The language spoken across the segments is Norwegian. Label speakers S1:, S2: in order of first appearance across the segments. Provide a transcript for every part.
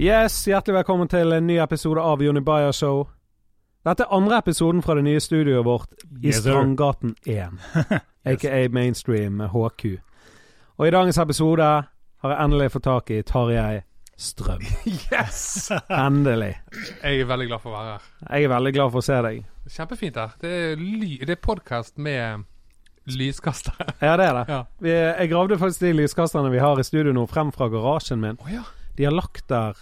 S1: Yes, hjertelig velkommen til en ny episode av Jonny Bayer Show. Dette er andre episoden fra det nye studioet vårt i
S2: Yes, sir.
S1: Strandgaten 1, aka Mainstream HQ. Og i dagens episode har jeg endelig fått tak i Tarjei Strøm.
S3: Yes!
S1: Endelig.
S3: Jeg er veldig glad for å være her.
S1: Jeg er veldig glad for å se deg.
S3: Kjempefint her. Det er, ly, det er podkast med lyskastere.
S1: Ja, det er det.
S3: Ja.
S1: Vi, jeg gravde faktisk de lyskasterne vi har i studio nå, frem fra garasjen min.
S3: Å ja.
S1: De har lagt der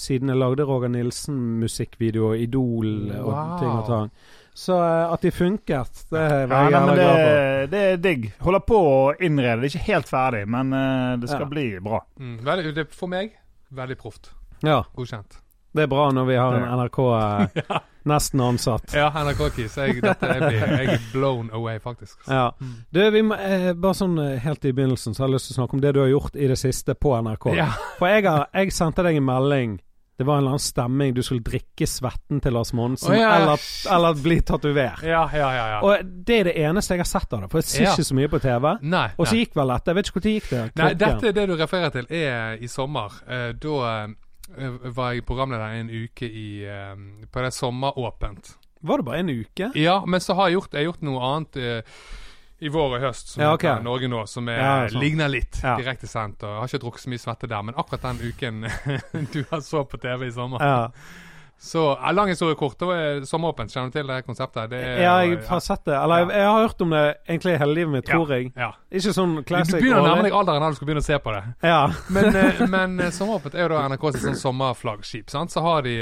S1: siden jeg lagde Roger Nilsen-musikkvideo, Idol og
S3: Wow.
S1: ting og tang. Så eh, at de funket, det
S2: Ja,
S1: var jeg
S2: nei, men
S1: jævla
S2: det,
S1: glad for.
S2: det er digg. Holder på å innrede. Det er ikke helt ferdig, men eh, det skal
S1: Ja.
S2: bli bra.
S3: Mm, veldig, det, for meg veldig proft.
S1: Ja,
S3: Godkjent.
S1: det er bra når vi har en NRK eh, nesten ansatt.
S3: Ja, NRK-kis. Jeg, dette- jeg, blir- jeg er blown away, faktisk.
S1: Ja.
S3: Mm.
S1: Du, vi må, eh, bare sånn eh, helt i begynnelsen, så har jeg lyst til å snakke om det du har gjort i det siste på NRK.
S3: Ja.
S1: For jeg, har, jeg sendte deg en melding. Det var en eller annen stemming. Du skulle drikke svetten til Lars Monsen,
S3: Å, ja, ja.
S1: eller, eller bli tatovert.
S3: ja, ja, ja. ja.
S1: Og det er det eneste jeg har sett av det, for jeg ser
S3: Ja.
S1: ikke så mye på TV.
S3: nei,
S1: Og så
S3: nei.
S1: gikk vel dette. Jeg vet ikke når gikk det.
S3: nei,
S1: Klokken.
S3: dette det du refererer til, er i sommer. Eh, da eh, var jeg programleder en uke i, eh, på det sommeråpent.
S1: Var det bare en uke?
S3: Ja, men så har jeg gjort, jeg har gjort noe annet eh, i vår og høst som
S1: Ja, ok.
S3: heter Norge nå, som er,
S1: Ja, sånn.
S3: ligner litt
S1: Ja.
S3: direktesendt. Og jeg har ikke drukket så mye svette der, men akkurat den uken du har så på TV i sommer
S1: Ja.
S3: Så eh, lang historie kort. Det var eh, sommeråpent. Kjenner du til det konseptet? Det
S1: ja, jeg har sett det. Eller jeg, jeg har hørt om det egentlig hele livet mitt, tror jeg.
S3: Ja.
S1: Ikke sånn
S3: Du
S1: classic.
S3: begynner å
S1: årlig.
S3: nærme deg alderen da du skal begynne å se på det.
S1: Ja.
S3: Men, eh, men eh, Sommeråpent er jo da NRK sitt sånn sommerflaggskip. sant? Så har de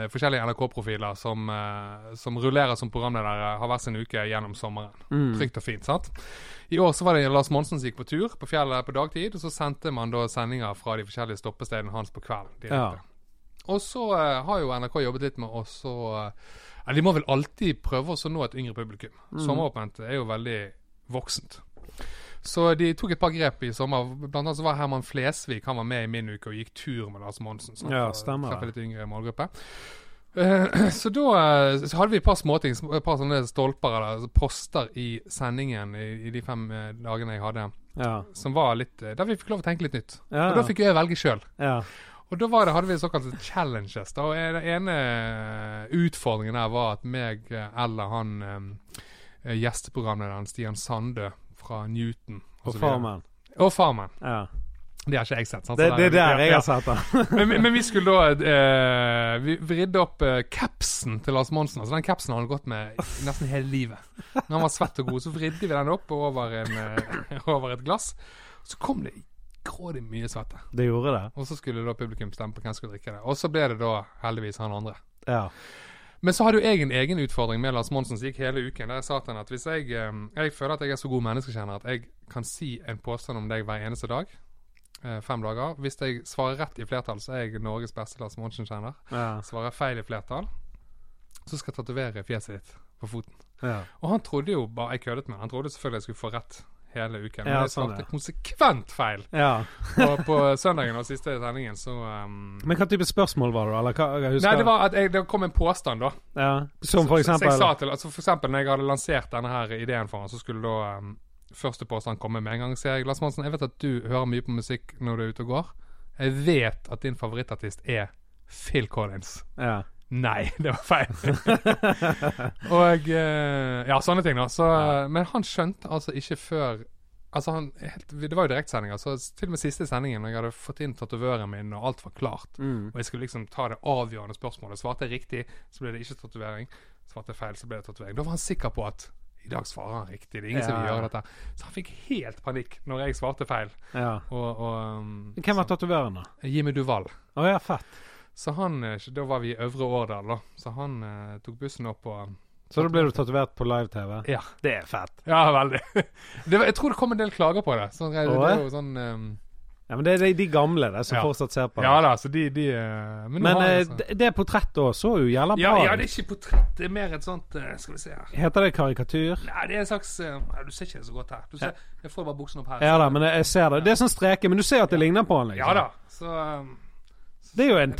S3: eh, forskjellige NRK-profiler som, eh, som rullerer som programledere, har hver sin uke gjennom sommeren. Trygt og fint, sant? I år så var det Lars Monsen som gikk på tur på fjellet på dagtid, og så sendte man da sendinger fra de forskjellige stoppestedene hans på kvelden. direkte.
S1: Ja.
S3: Og så eh, har jo NRK jobbet litt med også eh, ja, De må vel alltid prøve også å nå et yngre publikum.
S1: Mm.
S3: Sommeråpent er jo veldig voksent. Så de tok et par grep i sommer. Blant annet så var Herman Flesvig han var med i min uke og gikk tur med Lars Monsen. sant,
S1: Ja,
S3: for å
S1: stemmer det.
S3: treffe litt yngre målgruppe. Eh, så da eh, så hadde vi et par småting, sm- et par sånne stolper eller altså poster i sendingen i, i de fem eh, dagene jeg hadde,
S1: Ja.
S3: som var litt eh, Der vi fikk lov å tenke litt nytt.
S1: Ja,
S3: Og da fikk jeg velge sjøl.
S1: ja.
S3: Og da var det, hadde vi såkalte challenges. da, og Den ene eh, utfordringen der var at meg eh, eller han eh, gjesteprogramlederen Stian Sandø fra Newton og
S1: Og
S3: så videre.
S1: Farmen.
S3: Og Farmen.
S1: Ja.
S3: Det har ikke jeg sett. sant? Så
S1: Det, det er
S3: ja,
S1: der jeg
S3: ja.
S1: har sett det.
S3: men, men- men vi skulle da eh, Vi vridde opp eh, capsen til Lars Monsen. Altså Den capsen har han gått med nesten hele livet. Når han var svett og god, så vridde vi den opp og over, en, eh, over et glass. Så kom det grådig mye svette.
S1: Det gjorde det.
S3: Og så skulle da publikum bestemme på hvem som skulle drikke det. Og så ble det da heldigvis han andre.
S1: Ja.
S3: Men så hadde jo jeg en egen utfordring med Lars Monsen som gikk hele uken. Der jeg sa til han at hvis jeg, eh, jeg føler at jeg er så god menneskekjenner at jeg kan si en påstand om deg hver eneste dag. eh, Fem dager. Hvis jeg svarer rett i flertall, så er jeg Norges beste Lars Monsen-kjenner.
S1: Ja.
S3: Svarer jeg feil i flertall, så skal jeg tatovere fjeset ditt på foten.
S1: ja.
S3: Og han trodde jo bare jeg køddet med han. Han trodde selvfølgelig jeg skulle få rett hele uken. Men
S1: Ja,
S3: jeg
S1: sånn,
S3: svarte
S1: ja.
S3: konsekvent feil.
S1: ja.
S3: Og på søndagen og siste sendingen så eh,
S1: Men hva type spørsmål var det? Eller hva, jeg husker
S3: Nei, det var at jeg, det kom en påstand, da.
S1: ja. Som for
S3: Så- Så jeg
S1: eksempel
S3: sa til, altså for eksempel når jeg hadde lansert denne her ideen for han, så skulle da um, første påstand komme med en gang. Sier jeg, Lars Monsen, jeg vet at du hører mye på musikk når du er ute og går. Jeg vet at din favorittartist er Phil Collins.
S1: ja.
S3: Nei, det var feil. og eh, ja, sånne ting, da. Så, eh, Men han skjønte altså ikke før Altså han, helt, Det var jo direktesendinger, så til og med siste sendingen, når jeg hadde fått inn tatovøren min, og alt var klart,
S1: Mm.
S3: og jeg skulle liksom ta det avgjørende spørsmålet. Svarte jeg riktig, så ble det ikke tatovering. Svarte jeg feil, så ble det tatovering. Da var han sikker på at i dag svarer han riktig. Det er ingen som vil
S1: Ja.
S3: gjøre dette. Så han fikk helt panikk når jeg svarte feil.
S1: ja.
S3: Og, og um,
S1: Hvem var tatoveren, da?
S3: så- Jimmy Duval.
S1: Å ja, fett.
S3: Så han eh, Da var vi i Øvre Årdal, da. Så han eh, tok bussen opp og
S1: Så da ble du tatovert på live-TV?
S3: Ja.
S1: Det er fett.
S3: Ja, veldig. det var, jeg tror det kom en del klager på det. Så det, det
S1: Åh?
S3: er jo sånn um,
S1: Ja, Men det er de, de gamle det, som
S3: Ja.
S1: fortsatt ser på. det.
S3: Ja da, så de, de eh, Men, nå
S1: Men
S3: har jeg
S1: eh,
S3: altså-
S1: det, det portrettet òg så jo jævla
S3: ja,
S1: bra
S3: ja, det
S1: ut.
S3: er ikke portrett. Det er mer et sånt eh, Skal vi se her.
S1: Heter det karikatur?
S3: Nei, det er en slags eh, nei, Du ser ikke det så godt her. Du ser, jeg får bare buksen opp her.
S1: Ja da, men jeg jeg ser det. Det er sånn streke, men du ser at det ligner på han. liksom.
S3: Ja da. Så um,
S1: Det er jo en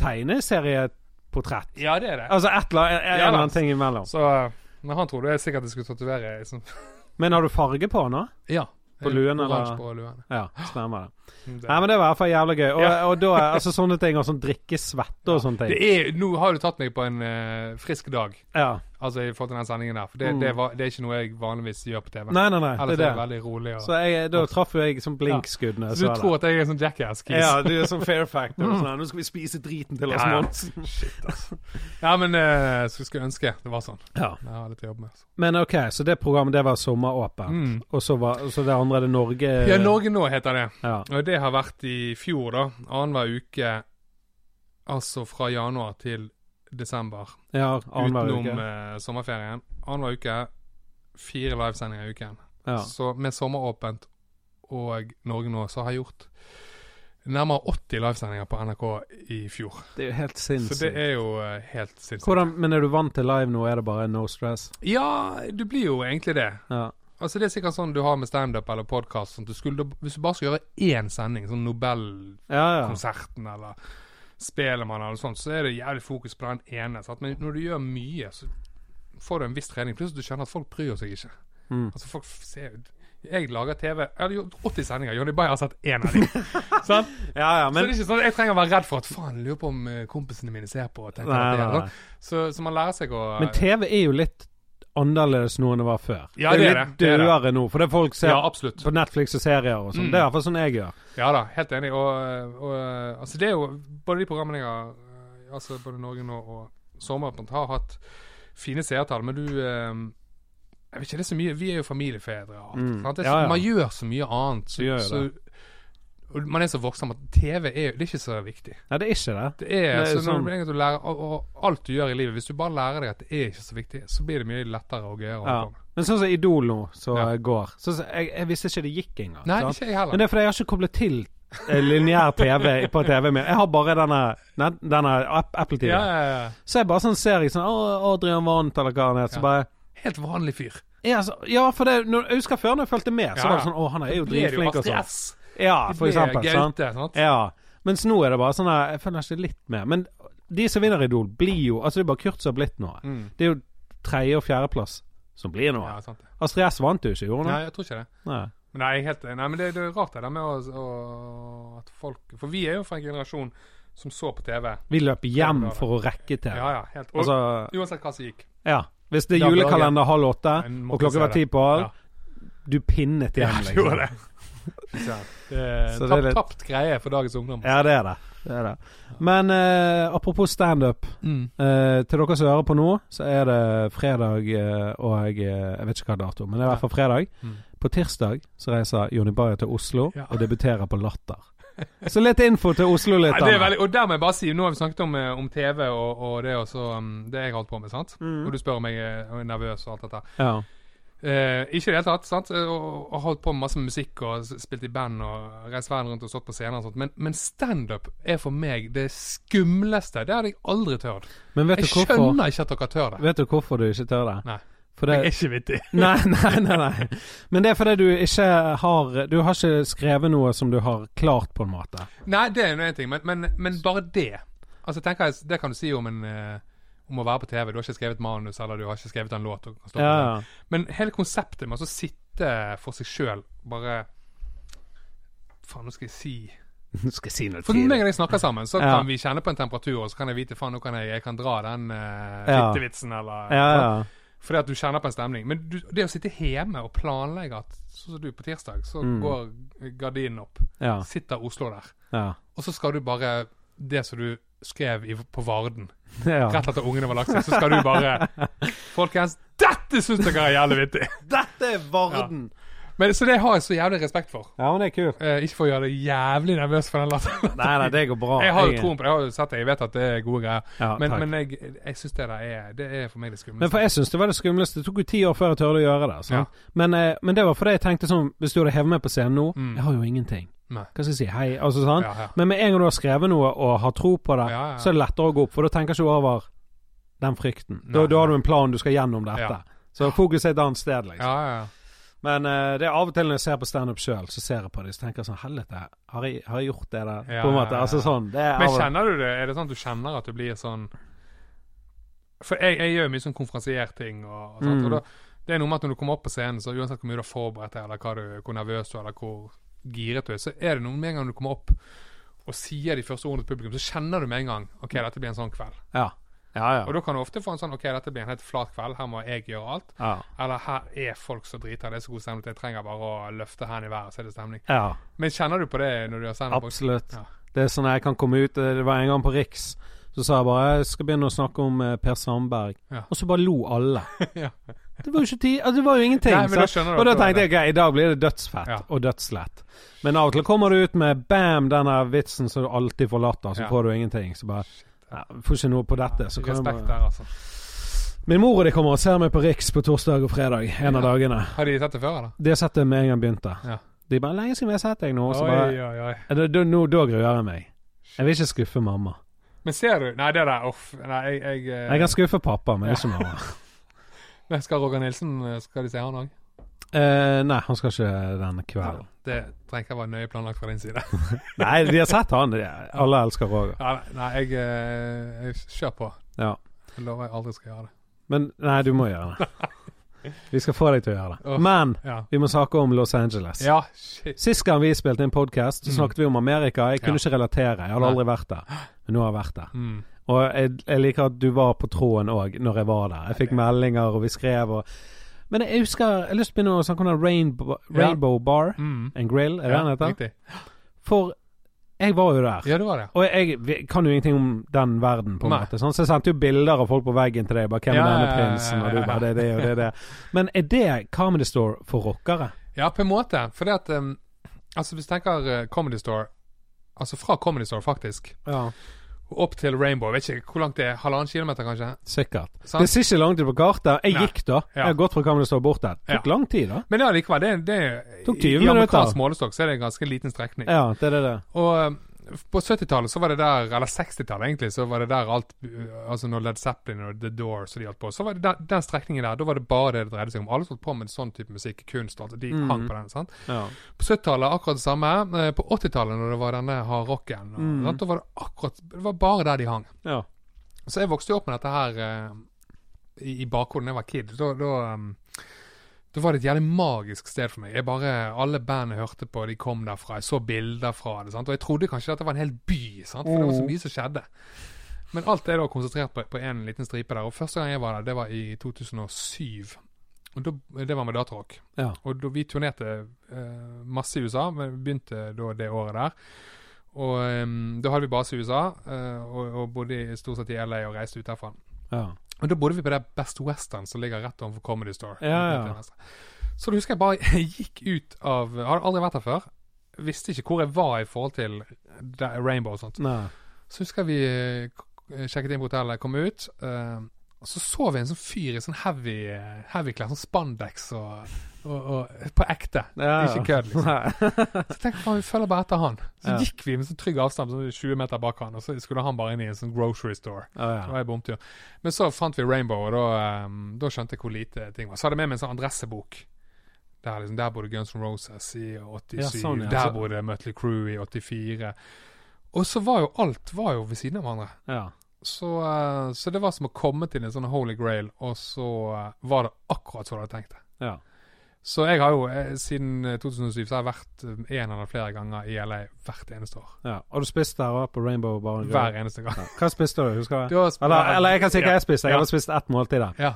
S1: tegneserieportrett.
S3: Ja, det eh, er det.
S1: Altså et eller annet, en, en
S3: Ja da.
S1: eller annen ting imellom.
S3: Så uh, Men han trodde jeg sikkert jeg skulle tatovere liksom.
S1: Men har du farge på han da?
S3: Ja.
S1: På luen,
S3: Oransje
S1: eller?
S3: på luen. Mm,
S1: Ja, stemmer det.
S3: Det.
S1: Nei, men det var i hvert fall jævlig gøy. Og,
S3: Ja.
S1: og da, altså sånne ting, og sånn drikkesvette og sånne
S3: det
S1: ting.
S3: er, nå har du tatt meg på en eh, frisk dag,
S1: Ja.
S3: altså i forhold til den sendingen der. For det, det, var, det er ikke noe jeg vanligvis gjør på TV.
S1: Mm. Nei, nei, nei.
S3: Ellers
S1: Det er det.
S3: veldig rolig. Og,
S1: Så jeg, da traff jo jeg som blinkskudd. når jeg
S3: så du
S1: så det.
S3: tror at jeg er en sånn jackass-kis?
S1: Ja, du er sånn fair factor. Sånn, her, nå skal vi spise driten til Lars
S3: Ja, ja.
S1: Monsen.
S3: altså. Ja, men eh, så skulle jeg ønske det var sånn.
S1: Ja.
S3: Jeg har litt å jobbe med. Så.
S1: Men OK, så det programmet det var sommeråpent.
S3: Mm.
S1: Og så, var, så det andre er det Norge
S3: Ja, Norge nå heter det.
S1: Ja.
S3: Og det har vært i fjor, da. Annenhver uke, altså fra januar til desember.
S1: ja annenhver
S3: utenom
S1: uke.
S3: eh, sommerferien. Annenhver uke, fire livesendinger i uken.
S1: Ja.
S3: Så med sommeråpent og Norge nå, så har jeg gjort nærmere 80 livesendinger på NRK i fjor.
S1: Det er jo helt
S3: Så det
S1: sinnssykt.
S3: er jo eh, helt sinnssykt.
S1: Hvordan, men er du vant til live nå? Er det bare no stress?
S3: Ja, du blir jo egentlig det.
S1: Ja.
S3: Altså Det er sikkert sånn du har med standup eller podkast. Sånn at du skulle- hvis du bare skal gjøre én sending, sånn Nobelkonserten
S1: Ja, ja.
S3: eller Spelemann eller sånt, så er det jævlig fokus på den ene. Sant? Men når du gjør mye, så får du en viss trening. Plutselig du kjenner at folk bryr seg ikke.
S1: Mm.
S3: Altså folk ser Jeg lager TV Jeg har gjort 80 sendinger. Johnny Bayer har sett én av dem. sant?
S1: ja, ja
S3: så det
S1: men
S3: er ikke sånn at jeg trenger å være redd for at faen, lurer på om eh, kompisene mine ser på. Og tenker
S1: Nei,
S3: at det er
S1: nei,
S3: sånn. Så, så man lærer seg å
S1: Men TV er jo litt annerledes nå enn det var før.
S3: Ja,
S1: det
S3: det
S1: er
S3: er
S1: jo litt
S3: det. Det er det.
S1: dødere nå, for det folk ser
S3: Ja, absolutt.
S1: på Netflix og serier og sånn.
S3: Mm.
S1: Det er iallfall sånn jeg gjør.
S3: Ja da, helt enig. Og, og altså det er jo både de programmene jeg har eh, Altså både Norge nå og Sommeråpent har hatt fine seertall, men du eh, Jeg vet ikke, det er så mye Vi er jo familiefedre. Og, alt,
S1: Mm.
S3: sant? Det er så,
S1: Ja, ja.
S3: Man gjør så mye annet. Så,
S1: Du gjør jo
S3: så, og man er så voksen at TV er jo det er ikke så viktig.
S1: Nei, det er ikke det.
S3: Det er,
S1: Det er
S3: så når
S1: sånn.
S3: du egentlig lærer og, og alt du gjør i livet Hvis du bare lærer deg at det er ikke så viktig, så blir det mye lettere og gøyere. å
S1: Ja.
S3: holde på med.
S1: Men sånn som Idol nå, som
S3: Ja.
S1: går sånn som, jeg, jeg visste ikke det gikk engang.
S3: Nei,
S1: sant?
S3: ikke jeg heller.
S1: Men det er fordi jeg har ikke koblet til eh, lineær TV på TV-en min. Jeg har bare denne, den- denne app- Apple-tiden.
S3: ja, ja, ja.
S1: Så jeg bare sånn ser jeg sånn Å, Adrian vant, eller hva han het. Så
S3: Ja.
S1: bare
S3: Helt vanlig fyr.
S1: ja, så, ja, for det, når, jeg husker før når jeg fulgte med, så
S3: Ja,
S1: var det
S3: ja.
S1: sånn Å, han er jo
S3: Blir det jo
S1: dritflink og
S3: Astrid
S1: sånn.
S3: S.
S1: Ja, for
S3: Det er
S1: eksempel. Sant?
S3: Gaute, sant?
S1: Ja. Mens nå er det bare sånn her, Jeg føler ikke litt mer. Men de som vinner Idol, blir jo Altså, det er bare Kurt som har blitt noe.
S3: Mm.
S1: Det er jo tredje- og fjerdeplass som blir noe.
S3: Ja, sant det.
S1: Astrid S vant jo ikke, gjorde hun
S3: Nei,
S1: det?
S3: jeg tror ikke det.
S1: Nei.
S3: Men Nei, helt, nei, men det, det er rart det der med å, å, at folk For vi er jo fra en generasjon som så på TV.
S1: Vi løp hjem for å rekke til.
S3: Ja, ja, helt. Og,
S1: Altså,
S3: uansett hva som gikk.
S1: ja. Hvis det er
S3: Da blir det-
S1: julekalender halv åtte,
S3: En måtte
S1: og klokka
S3: se
S1: var
S3: det.
S1: ti på halv,
S3: Ja.
S1: du pinnet hjem,
S3: det
S1: liksom.
S3: gjorde det. Fy søren. Det er
S1: Så det er
S3: tapt,
S1: litt-
S3: tapt greie for dagens ungdom.
S1: Ja, det er det. det, er det. Men eh, apropos standup.
S3: Mm.
S1: Eh, til dere som hører på nå, så er det fredag eh, og eh, Jeg vet ikke hva dato, men det er i hvert fall fredag.
S3: Mm.
S1: På tirsdag så reiser Jonny Bayer til Oslo
S3: Ja.
S1: og debuterer på Latter. Så litt info til
S3: Nei, det er
S1: Oslo-lytterne.
S3: veldig, og der må jeg bare si, nå har vi snakket om, eh, om TV og, og det, også, um, det jeg har holdt på med, sant? Og du spør om jeg er er nervøs og alt dette.
S1: Ja.
S3: Eh, ikke i det hele tatt. sant? Eh, Og, og holdt på med masse musikk og s- spilt i band og reist verden rundt og stått på scener. og sånt. Men, men standup er for meg det skumleste. Det hadde jeg aldri tørt.
S1: Men vet
S3: Jeg
S1: du hvorfor?
S3: skjønner ikke at dere tør det.
S1: Vet du hvorfor du ikke tør det?
S3: Nei.
S1: For det,
S3: Jeg er ikke vittig.
S1: Nei, nei, nei, nei. Men det er fordi du ikke har Du har ikke skrevet noe som du har klart, på en måte.
S3: Nei, det er jo én ting, men, men, men bare det. Altså, tenker jeg, Det kan du si om en eh, om å være på TV. Du har ikke skrevet manus, eller du har ikke skrevet en låt. Og kan stå på
S1: Ja,
S3: scenen.
S1: ja.
S3: Men hele konseptet med å sitte for seg sjøl, bare Faen, nå skal jeg si
S1: Nå skal jeg si noe
S3: For meg
S1: tidlig.
S3: og deg snakker sammen, så
S1: Ja.
S3: kan vi kjenne på en temperatur, og så kan jeg vite faen, nå kan jeg, jeg kan dra den uh,
S1: Ja.
S3: fittevitsen, eller
S1: Ja, ja.
S3: Fordi at du kjenner på en stemning. Men du, det å sitte hjemme og planlegge at Sånn som du på tirsdag, så
S1: Mm.
S3: går gardinen opp.
S1: ja,
S3: Sitter Oslo der.
S1: ja.
S3: Og så skal du bare Det som du skrev i, på Varden,
S1: ja.
S3: rett etter ungene var lagt seg, så skal du bare Folkens, dette syns dere er jævlig vittig!
S1: Dette er
S3: Varden! Men, så det har jeg så jævlig respekt for.
S1: Ja, men det er kult.
S3: Eh, ikke for å gjøre deg jævlig nervøs for den latteren.
S1: Nei, nei, det går bra.
S3: Jeg har jo troen på det, jeg har jo sett det, jeg vet at det er gode greier.
S1: Ja,
S3: Men,
S1: takk.
S3: men jeg, jeg syns det der er Det er for meg det
S1: Men
S3: skumleste.
S1: for jeg syns det var det skumleste. Det tok jo ti år før jeg turte å gjøre det. sant? Men, eh, men det var fordi jeg tenkte sånn Hvis du hadde hevet meg på scenen nå
S3: Mm.
S1: Jeg har jo ingenting.
S3: Nei.
S1: Hva skal jeg si? Hei? Altså sånn.
S3: Ja, ja.
S1: Men med en gang du har skrevet noe og har tro på det,
S3: Ja, ja.
S1: så er det lettere å gå opp. For da tenker ikke du over den frykten. Da,
S3: Nei.
S1: da har du en plan, du skal gjennom dette.
S3: Ja.
S1: Så fokus er et annet sted, liksom.
S3: Ja, ja, ja.
S1: Men eh, det er av og til når jeg ser på standup sjøl, så ser jeg på det så tenker jeg sånn Helvete, har jeg, har jeg gjort det der?
S3: Ja,
S1: på en
S3: ja,
S1: måte.
S3: ja.
S1: Altså sånn. Det er
S3: Men
S1: av og-
S3: kjenner du det? Er det sånn at du kjenner at du blir sånn For jeg, jeg gjør jo mye sånn konferansiert ting og, og sånt.
S1: Mm.
S3: Og da, Det er noe med at når du kommer opp på scenen, så uansett hvor mye du har forberedt deg, eller hva du, hvor nervøs du er, eller hvor giret du er, så er det noe med en gang du kommer opp og sier de første ordene til publikum, så kjenner du med en gang OK, dette blir en sånn kveld.
S1: Ja. Ja,
S3: Og da kan du ofte få en sånn OK, dette blir en helt flat kveld, her må jeg gjøre alt.
S1: ja.
S3: Eller her er folk så drita, det er så god stemning at jeg trenger bare å løfte hendene i været, så er det stemning.
S1: ja.
S3: Men kjenner du på det når du har standup? også?
S1: Absolutt.
S3: Ja.
S1: Det er sånn jeg kan komme ut Det var en gang på Riks. Så sa jeg bare jeg skal begynne å snakke om eh, Per Sandberg.
S3: Ja.
S1: Og så bare lo alle.
S3: Ja.
S1: Det var jo ikke tid altså, Det var jo ingenting.
S3: Nei, men da
S1: sant?
S3: skjønner du
S1: og da
S3: at det var
S1: tenkte jeg ok, i dag blir det dødsfett
S3: Ja.
S1: og dødslett. Men av og til kommer du ut med bam, den der vitsen som du alltid forlater, så
S3: Ja. altså.
S1: får du ingenting. Så bare ja, Får ikke noe på dette. Så kan jeg bare...
S3: Respekt der, altså.
S1: Min mor og de kommer og ser meg på Riks på torsdag og fredag en av
S3: Ja.
S1: dagene.
S3: Har de sett det før, eller?
S1: De har sett det med en gang jeg begynte.
S3: Ja.
S1: De bare 'Lenge siden vi har sett deg nå.' Og så bare
S3: Oi, oi, oi.
S1: Ja, Da, da, nå, da gruer jeg meg. Jeg vil ikke skuffe mamma.
S3: Men ser du Nei, det der uff. Nei, jeg, jeg, eh,
S1: Jeg kan skuffe pappa, men ikke mamma.
S3: Men Skal Roger Nilsen eh, Skal de se han òg?
S1: Eh, nei, han skal ikke den kvelden.
S3: Det trenger ikke å være nøye planlagt fra din side.
S1: Nei, de har sett han. De, alle elsker Roger.
S3: Ja, nei, jeg, eh, jeg Kjør på.
S1: Ja.
S3: Jeg lover jeg aldri skal gjøre det.
S1: Men nei, du må gjøre det. Vi skal få deg til å gjøre det.
S3: Åh.
S1: Men
S3: Ja,
S1: vi må snakke om Los Angeles.
S3: ja shit.
S1: Sist gang vi spilte inn podkast,
S3: Mm.
S1: snakket vi om Amerika. Jeg kunne
S3: Ja.
S1: ikke relatere. Jeg hadde
S3: Nei.
S1: aldri vært der. Men nå har jeg vært der.
S3: Mm.
S1: Og jeg, jeg liker at du var på tråden òg når jeg var der. Jeg fikk meldinger, og vi skrev og Men jeg husker Jeg har lyst til å begynne å snakke om den Rainbow,
S3: Ja.
S1: Rainbow Bar.
S3: Mm.
S1: En grill, er det
S3: Ja,
S1: den heter?
S3: riktig.
S1: For jeg var jo der.
S3: Ja, det var det.
S1: Og jeg vi- kan jo ingenting om den verden, på en
S3: Nei.
S1: måte. Sånn, så jeg sendte jo bilder av folk på veggen til deg. Bare 'Hvem er
S3: Ja,
S1: denne
S3: ja, ja,
S1: prinsen?' Og du
S3: ja, ja.
S1: bare 'Det er det og det er det'. Men er det Comedy Store for rockere?
S3: Ja, på en måte. Fordi at um, Altså, hvis du tenker eh, Comedy Store Altså fra Comedy Store, faktisk,
S1: Ja.
S3: opp til Rainbow. Jeg vet ikke hvor langt det er. Halvannen kilometer, kanskje?
S1: Sikkert.
S3: Sant?
S1: Det ser ikke langt ut på kartet. Jeg
S3: Nei.
S1: gikk, da. Jeg
S3: Ja.
S1: har gått fra Comedy Store bort der. Tok
S3: Ja.
S1: lang tid, da.
S3: Men ja, likevel. Det, det,
S1: Tok 20
S3: I
S1: minutter.
S3: amerikansk målestokk så er det en ganske liten strekning.
S1: Ja, det er det. det.
S3: Og um, på 70-tallet så var det der, eller 60-tallet egentlig, så var det der alt uh, Altså når Led Zeppelin og The Doors og de holdt på, så var det der, den strekningen der, da var det bare det det dreide seg om. Alle som holdt på med sånn type musikk, kunst og alt, de
S1: Mhm.
S3: hang på den. sant?
S1: Ja.
S3: På 70-tallet akkurat det samme. eh, På 80-tallet når det var denne hardrocken, og-
S1: Mhm.
S3: sant, da var det akkurat Det var bare der de hang.
S1: ja.
S3: Så jeg vokste jo opp med dette her eh, i, i bakhodet da jeg var kid. Da, da, um, da var det et jævlig magisk sted for meg. Jeg bare, Alle bandene hørte på, de kom derfra. Jeg så bilder fra det. sant? Og jeg trodde kanskje dette var en hel by, sant? for det var så mye som skjedde. Men alt er da konsentrert på- på én liten stripe der. Og første gang jeg var der, det var i 2007. Og da, Det var med datarock.
S1: Ja.
S3: Og da, vi turnerte eh, masse i USA, men vi begynte da det året der. Og eh, da hadde vi base i USA, eh, og, og bodde i- stort sett i LA og reiste ut derfra.
S1: ja.
S3: Og da bodde vi på det Best Western som ligger rett overfor Comedy Store.
S1: Ja, ja.
S3: Helt til venstre. Så da husker jeg bare jeg gikk ut av Hadde aldri vært der før. Visste ikke hvor jeg var i forhold til da- Rainbow og sånt.
S1: Nei.
S3: Så husker jeg vi eh, k- sjekket inn på hotellet, kom ut. eh, og så så vi en sånn fyr i sånn heavy, eh, heavy klær, sånn spandex og, og, og På ekte.
S1: Ja, ja.
S3: Ikke kødd, liksom.
S1: Nei.
S3: Så tenkte jeg, faen, vi følger bare etter han. Så
S1: Ja.
S3: gikk vi med sånn trygg avstand, sånn 20 meter bak han, og så skulle han bare inn i en sånn grocery store. Det
S1: Ja,
S3: var en bomtur. Men så fant vi Rainbow, og da, ehm, da skjønte jeg hvor lite ting var. Så hadde jeg med meg en sånn adressebok. Der, liksom, der bodde Guns N' Roses i 87,
S1: Ja, sånn, ja.
S3: der
S1: Så-
S3: bodde Mutley Crew i 84. Og så var jo alt var jo ved siden av hverandre.
S1: ja. ja.
S3: Så, eh, så det var som å komme til en sånn holy grail, og så eh, var det akkurat som du hadde tenkt det.
S1: ja.
S3: Så jeg har jo, eh, siden eh, 2007, så har jeg vært eh, en eller flere ganger i LA hvert eneste år.
S1: ja. Og du spiste der òg, på Rainbow Bar? and Grill?
S3: Hver eneste gang.
S1: Ja. Hva spiste du? Husker du?
S3: Da sp-
S1: Eller, eller jeg kan si hva jeg spiste. Jeg
S3: Ja.
S1: hadde spist ett måltid der.
S3: Ja.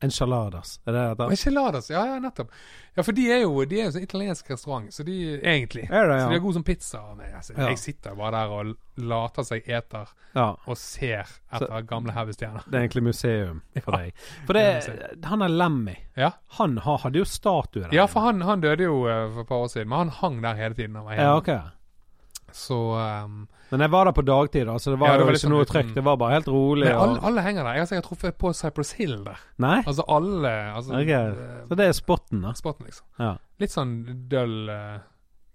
S1: Enchiladas. Er det det
S3: Og
S1: heter?
S3: enchiladas, ja, ja, nettopp. Ja, for de er jo de er jo sånn italiensk restaurant, så de egentlig.
S1: Er det,
S3: Så de
S1: ja.
S3: er gode som pizza. Men altså,
S1: Ja.
S3: jeg sitter bare der og later seg eter
S1: ja.
S3: og ser etter gamle heavystjerner.
S1: Det er egentlig museum for
S3: Ja.
S1: deg. For det, han er Lemmy.
S3: Ja.
S1: Han har, hadde jo statue der.
S3: ja, for han, han døde jo eh, for et par år siden, men han hang der hele tiden. Han var
S1: Ja,
S3: hjemme.
S1: ok.
S3: Så um,
S1: Men jeg var der på dagtid, da, så det var,
S3: Ja, det var
S1: jo ikke
S3: liksom
S1: noe
S3: uten-
S1: trykk. Det var bare helt rolig.
S3: Men alle,
S1: Og...
S3: alle henger der. Jeg har sikkert truffet på Cypress Hill der.
S1: Nei?
S3: Altså alle altså,
S1: Ok.
S3: eh,
S1: Så det er spotten, da.
S3: spotten, liksom.
S1: Ja.
S3: Litt sånn døll eh,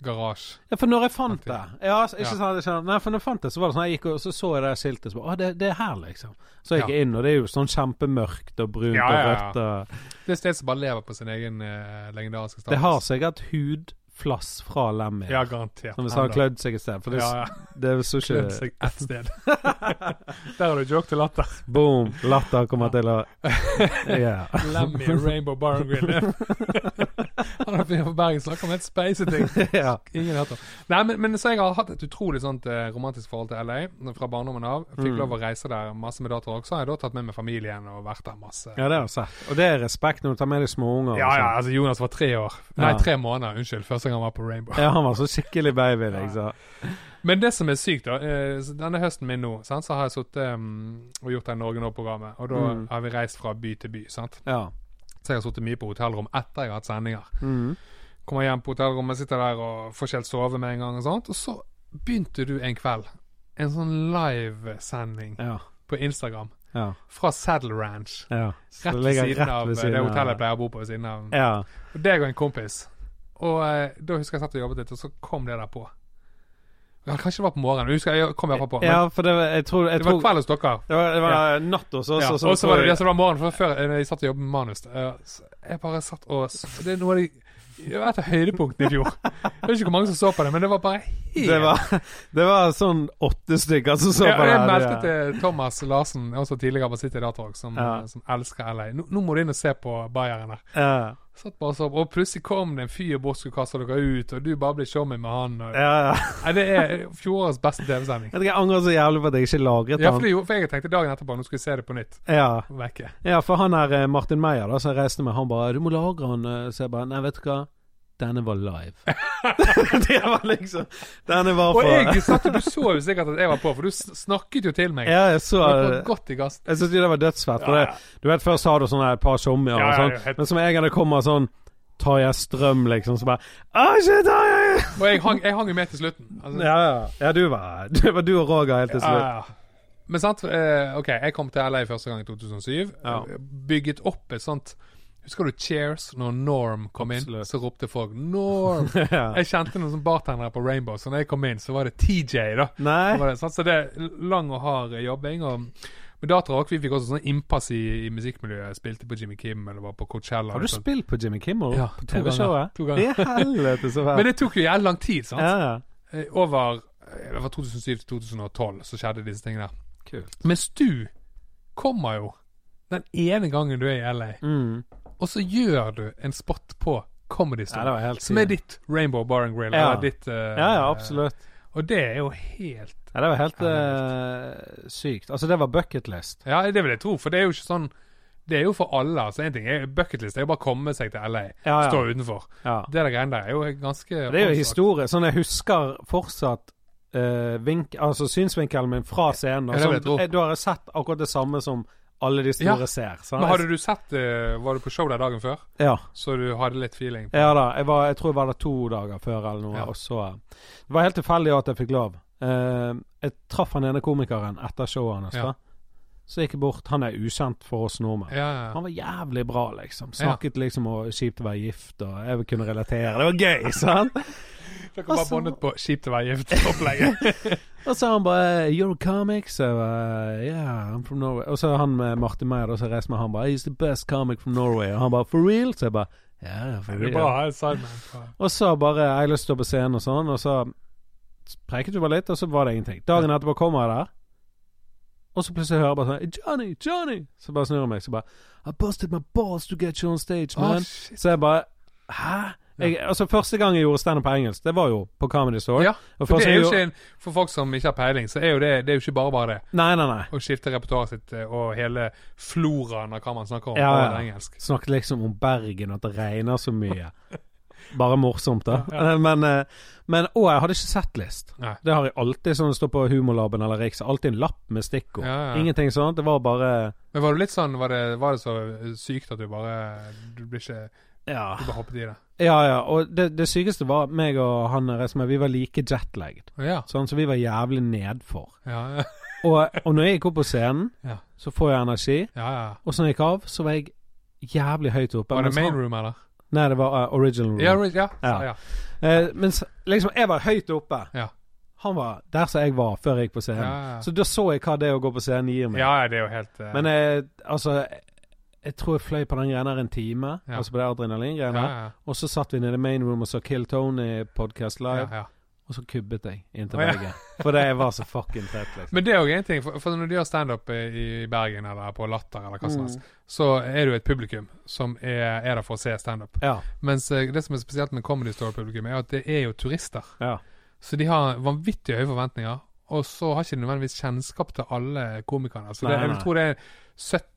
S3: garasje.
S1: Ja, for når jeg fant det Ja, altså, ikke
S3: Ja.
S1: sant, jeg skjønner. Nei, for når jeg fant det, så var det sånn jeg gikk og så, så jeg det skiltet, så bare Å, det, det er her, liksom. Så jeg gikk
S3: Ja.
S1: inn, og det er jo sånn kjempemørkt og brunt
S3: Ja, ja, ja.
S1: og rødt og
S3: Det er et sted som bare lever på sin egen eh, legendariske status.
S1: Det har sikkert hud flass fra lemmet.
S3: Ja, garantert.
S1: Som hvis han har
S3: Enda.
S1: klødd seg et sted. For det,
S3: Ja, ja.
S1: det så
S3: Klødd
S1: ikke
S3: seg ett sted. Der har du joke til latter.
S1: Boom! Latter kommer til å Ja.
S3: Lemmy Rainbow Bar and Grill. Han er fyren fra Bergen snakker om helt speise ting.
S1: ja.
S3: Ingen hater. Nei, men, men så jeg har hatt et utrolig sånt eh, romantisk forhold til LA fra barndommen av. Fikk
S1: Mm.
S3: lov å reise der masse med datter også. Har jeg da tatt med meg familien og vært der masse.
S1: ja, det har jeg sett. Og det er respekt når du tar med deg småunger. og sånn.
S3: Ja, ja,
S1: sånt.
S3: altså Jonas var tre år. Nei,
S1: Ja.
S3: tre måneder. Unnskyld. Første gang han var på Rainbow.
S1: ja, han var så skikkelig baby. Liksom.
S3: Men det som er sykt, da eh, så Denne høsten min nå, sant, så har jeg sittet mm, og gjort det Norge Nå-programmet. Og da
S1: Mm.
S3: har vi reist fra by til by. sant?
S1: Ja.
S3: Så jeg har sittet mye på hotellrom etter jeg har hatt sendinger.
S1: Mm.
S3: Kommer hjem på hotellrommet, sitter der og får ikke helt sove med en gang. Og sånt Og så begynte du en kveld. En sånn livesending
S1: ja.
S3: på Instagram
S1: Ja.
S3: fra Saddle Ranch.
S1: ja.
S3: Rett ved
S1: ligger
S3: siden
S1: rett
S3: av
S1: ved
S3: eh,
S1: siden
S3: det
S1: av-
S3: hotellet jeg pleier å bo på ved siden av.
S1: ja.
S3: Og deg og en kompis. Og eh, da husker jeg satt og jobbet litt, og så kom det der på. Ja, kanskje det var på morgenen. Jeg husker jeg kom i hvert fall på. Men
S1: ja, for det var Jeg tror, jeg
S3: det
S1: tror
S3: var kveld hos dere.
S1: det var, det var natt hos oss.
S3: Ja,
S1: og så-
S3: og så var det det som var morgenen for før eh, jeg satt og jobbet med manus. eh, så Jeg bare satt og så Det er noe av de Det var et av høydepunktene i fjor. Jeg vet ikke hvor mange som så på det, men det var bare helt
S1: Det var, det var sånn åtte stykker som så
S3: ja,
S1: på det.
S3: Jeg
S1: her,
S3: meldte
S1: ja.
S3: til Thomas Larsen, også tidligere på City Datalk, som,
S1: Ja.
S3: eh, som elsker LA. Nå, nå må du inn og se på Bayern her.
S1: Ja,
S3: Satt bare og så på, og plutselig kom det en fyr bort skulle kaste dere ut, og du bare ble showman med han. Og,
S1: ja, ja.
S3: Nei, det er fjorårets beste TV-sending.
S1: Jeg tror jeg angrer så jævlig på at jeg ikke lagret
S3: Ja,
S1: han.
S3: for, det gjorde- for jeg tenkte dagen etterpå, nå skulle jeg se det på nytt.
S1: Ja.
S3: Vekke.
S1: ja, for han her eh, Martin Meyer, da, som jeg reiste med, han bare 'Du må lagre han', eh, så jeg bare 'Nei, vet du hva, denne var live'. det var liksom Denne var
S3: Og
S1: for
S3: jeg satt og du så jo sikkert at jeg var på, for du s- snakket jo til meg.
S1: Ja, jeg så eh,
S3: Du var godt i gass.
S1: Jeg syns det var dødsfett. For
S3: Ja,
S1: det,
S3: ja.
S1: du vet, først har du sånne et par sommer,
S3: Ja,
S1: og
S3: ja,
S1: sånn,
S3: ja, helt-
S1: men som en gang det kommer sånn Tarjei Strøm, liksom, så bare Å, shit, Tarjei!
S3: Og jeg hang, jeg hang jo med til slutten. Altså,
S1: Ja, ja. ja du, var, du var du og Roger helt til
S3: ja,
S1: slutt.
S3: ja. Men sant, eh, ok, jeg kom til LA første gang i 2007.
S1: Ja.
S3: Eh, Bygget opp et sånt Husker du Cheers, når Norm kom inn?
S1: Absolutt.
S3: Så ropte folk 'Norm'.
S1: Ja.
S3: Jeg kjente noen sånn bartendere på Rainbow, så når jeg kom inn, så var det TJ, da.
S1: Nei?
S3: Det var det, sant? Så det er lang og hard jobbing. Og med datere også, vi fikk også sånn innpass i, i musikkmiljøet. Spilte på Jimmy Kim eller var på Coachella.
S1: Har du
S3: sånt.
S1: spilt på Jimmy Kimmel?
S3: Ja,
S1: på
S3: to ganger.
S1: TV-showet?
S3: To
S1: I
S3: ganger.
S1: helvete, så fælt.
S3: Men det tok jo jævlig lang tid, sant?
S1: ja, ja.
S3: Eh, Over eh, det var 2007 til 2012 så skjedde disse tingene.
S1: Kult.
S3: Mens du kommer jo den ene gangen du er i LA,
S1: Mm.
S3: og så gjør du en spot på Comedy
S1: Ja, det
S3: Store.
S1: var helt
S3: som er ditt Rainbow Bar and Grill.
S1: Ja.
S3: Eller ditt, eh,
S1: Ja, ja, absolutt.
S3: Og det er jo helt
S1: Ja, det var helt eh, sykt. Altså, det var bucketlist.
S3: Ja, det vil jeg tro, for det er jo ikke sånn Det er jo for alle. altså En ting er bucketlist, det er jo bare å komme seg til LA.
S1: Ja, ja.
S3: Stå utenfor.
S1: Ja.
S3: Det der greiene der er jo ganske
S1: Det er jo
S3: åndssvakt.
S1: historie. Sånn, jeg husker fortsatt eh, vink, altså synsvinkelen min fra scenen.
S3: Ja,
S1: Og
S3: det vil jeg tro.
S1: sånn, eh, da har jeg sett akkurat det samme som alle de
S3: Ja.
S1: store ser. sant?
S3: Men hadde du sett eh, Var du på show der dagen før,
S1: Ja.
S3: så du hadde litt feeling?
S1: ja da. Jeg, var, jeg tror jeg var der to dager før eller noe.
S3: Ja.
S1: Og så eh, Det var helt tilfeldig at jeg fikk lov. Eh, jeg traff han ene komikeren etter showet hans.
S3: Ja.
S1: da. Så gikk jeg bort. Han er ukjent for oss nordmenn.
S3: Ja, ja.
S1: Han var jævlig bra, liksom. Snakket liksom om kjipt å være gift, og jeg kunne relatere. Det var gøy, sant?
S3: Dere var
S1: Altså-
S3: bondet på kjipt å være gift-opplegget.
S1: Og så han bare 'You're a comic', så jeg bare, yeah, I'm from Norway. Og så han med Martin Meyer, da, som reiste med, han bare 'He's the best comic from Norway'. Og han bare 'For real?' Så jeg bare Ja, for
S3: det er
S1: real.
S3: bra å ha en sideman. på-
S1: Og så bare Jeg har lyst til å stå på scenen og sånn, og så preiket vi bare litt, og så var det ingenting. Dagen etterpå kommer jeg der, og så plutselig hører jeg bare sånn 'Johnny, Johnny!' Så bare snur jeg meg, så bare 'I busted my balls to get you on stage, man'.
S3: Å, Ah, shit.
S1: Så jeg bare Hæ? Jeg, altså Første gang jeg gjorde standup på engelsk, det var jo på Comedy Store.
S3: Ja,
S1: Og
S3: for
S1: første
S3: det er jo
S1: gang jeg
S3: ikke en, for folk som ikke har peiling, så er jo det, det er jo ikke bare bare det
S1: gjorde- Nei, nei, nei.
S3: å skifte repertoaret sitt eh, og hele floraen av hva man snakker om.
S1: Ja,
S3: Ja,
S1: ja.
S3: engelsk.
S1: Snakket liksom om Bergen og at det regner så mye. Bare morsomt, da. Men, eh, men Og jeg hadde ikke sett list.
S3: Nei.
S1: Det har jeg alltid sånn det står på Humorlaben eller Riks. Alltid en lapp med stikkord.
S3: Ja, ja.
S1: Ingenting sånt. Det var bare
S3: Men var du litt sånn Var det, var det så sykt at du bare Du ble ikke
S1: Ja,
S3: Du bare hoppet i det?
S1: ja. ja. Og det, det sykeste var meg og han jeg reiste med, vi var like jetlagged.
S3: Ja.
S1: Sånn, så vi var jævlig nedfor.
S3: Ja, ja.
S1: Og, og når jeg gikk opp på scenen,
S3: Ja.
S1: så får jeg energi.
S3: ja, ja.
S1: Og så når jeg gikk av, så var jeg jævlig høyt oppe.
S3: Var det
S1: mens
S3: main
S1: han-
S3: room, eller?
S1: Nei, det var eh, original room.
S3: Ja, ja. ja.
S1: Ja.
S3: ja.
S1: Eh, mens liksom, jeg var høyt oppe.
S3: Ja.
S1: Han var der som jeg var før jeg gikk på scenen.
S3: Ja, eh, ja.
S1: Så da så jeg hva det å gå på scenen gir meg.
S3: ja, ja det er jo helt eh,
S1: Men eh, altså Jeg tror jeg fløy på den greia der en time,
S3: Ja.
S1: altså på det adrenalingreiene.
S3: Ja, ja,
S1: Og så satt vi nede i main room og så Kill Tony podcast
S3: ja,
S1: live,
S3: ja, ja.
S1: og så kubbet jeg inn til
S3: Å, ja.
S1: Bergen. For det jeg var så fucking trett, liksom.
S3: Men det er jo en ting, for, for når du gjør standup i, i Bergen eller på Latter eller hva som
S1: Mm.
S3: helst, så er du et publikum som er, er der for å se standup.
S1: Ja.
S3: Mens eh, det som er spesielt med Comedy Store-publikum, er at det er jo turister.
S1: ja.
S3: Så de har vanvittig høye forventninger, og så har ikke de nødvendigvis kjennskap til alle komikerne. Så det,
S1: Nei,
S3: jeg
S1: nei.
S3: vil tro det er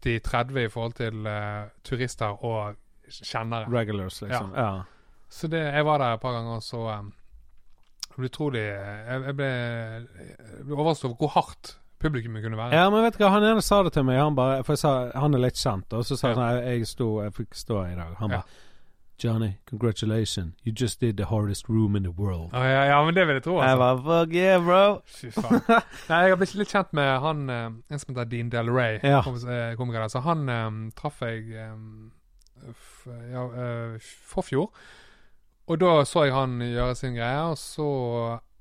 S3: 70-30 i forhold til eh, turister og kjennere.
S1: Regulars, liksom. Ja.
S3: Så det, jeg var der et par ganger, og så um, jeg ble utrolig eh, jeg, jeg ble, jeg ble overrasket over hvor hardt publikum kunne
S1: ja.
S3: være.
S1: men vet du hva, han ene sa det til meg, han bare For jeg sa han er litt kjent, og så sa han sånn jeg, sto, jeg fikk stå i dag. Han
S3: Ja.
S1: bare Johnny, congratulations. You just did the hardest room in the world.
S3: Å, ja, ja, men det vil jeg tro,
S1: Jeg
S3: altså.
S1: bare fuck yeah, bro.
S3: Fy faen. Nei, jeg har blitt litt kjent med han eh, en som heter Dean Del Rey,
S1: Ja.
S3: kom- eh, komiker der. Så han eh, traff jeg eh, f, ja, eh, forfjor. Og da så jeg han gjøre sin greie, og så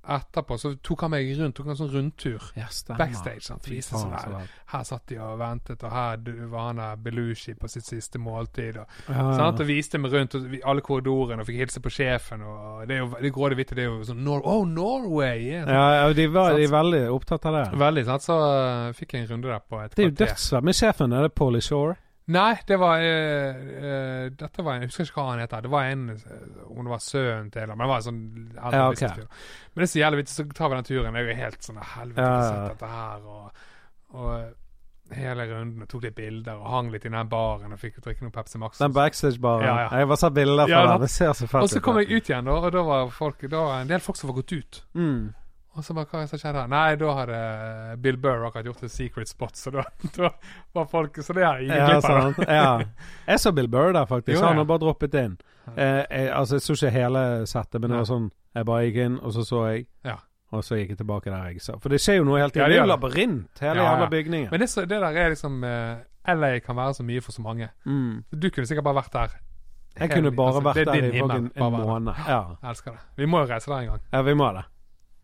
S3: etterpå så tok han meg rundt, tok en sånn rundtur
S1: Ja, stemmer.
S3: backstage. Sant?
S1: Fy
S3: Viste seg
S1: faen,
S3: der.
S1: så bra.
S3: Her satt de og ventet, og her du- var han der Belushi på sitt siste måltid. Og,
S1: Ja, ja.
S3: sant? og viste meg rundt og vi- alle korridorene og fikk hilse på sjefen. Og det er jo det grådige vittet, det er jo sånn Nor Oh, Norway! Yeah.
S1: Ja, ja, de var de er veldig opptatt av det.
S3: Veldig, sant? Så øh, fikk jeg en runde der på et
S1: Det er jo
S3: kvarter.
S1: dødsfett. Men sjefen, er det Polly Shore?
S3: Nei, det var øh, øh, Dette var en, Jeg husker ikke hva han heter. Det var en øh, Om det var sønnen til eller Men det var en sånn eldre
S1: Ja, ok.
S3: business-fyr. Men det er så jævlig vittig, så tar vi den turen. Det er jo helt sånn Helvete,
S1: Ja,
S3: ja,
S1: ja, ja.
S3: sett dette her, og, og eh, hele runden og tok litt bilder og hang litt i den baren og fikk drikke noe Pepsi Max.
S1: Den backstage-baren.
S3: Ja, ja.
S1: Jeg bare sa bilder fra
S3: Ja,
S1: den. Det ser så fett ut.
S3: Og så kom jeg ut igjen, da, og da var folk, da var en del folk som var gått ut.
S1: Mm.
S3: Og så bare, hva er det som skjedde her? Nei, da hadde eh, Bill Burr akkurat gjort et secret spot, så da, da var folk Så det er ingen
S1: Ja,
S3: glipp av.
S1: sant. Ja. Jeg så Bill Burr der, faktisk.
S3: Jo, ja.
S1: Han har bare droppet inn. Eh, jeg, altså, jeg så ikke hele settet, men det
S3: Nei.
S1: var sånn Jeg bare gikk inn, og så så jeg,
S3: Ja.
S1: og så gikk jeg tilbake der jeg sa. For det skjer jo noe hele
S3: Ja,
S1: tiden.
S3: det
S1: det er jo
S3: gjør
S1: labyrint, hele
S3: Ja,
S1: jævla
S3: ja.
S1: bygningen.
S3: Men det, så- det der er liksom eh, LA kan være så mye for så mange.
S1: mm.
S3: Du kunne sikkert bare vært der.
S1: Jeg
S3: Hele-
S1: kunne bare
S3: altså,
S1: vært
S3: det er
S1: der
S3: din
S1: i
S3: himmel,
S1: en,
S3: bare
S1: en
S3: være der.
S1: måned. Ja.
S3: Jeg elsker det. Vi må jo reise der en gang.
S1: ja, vi må det.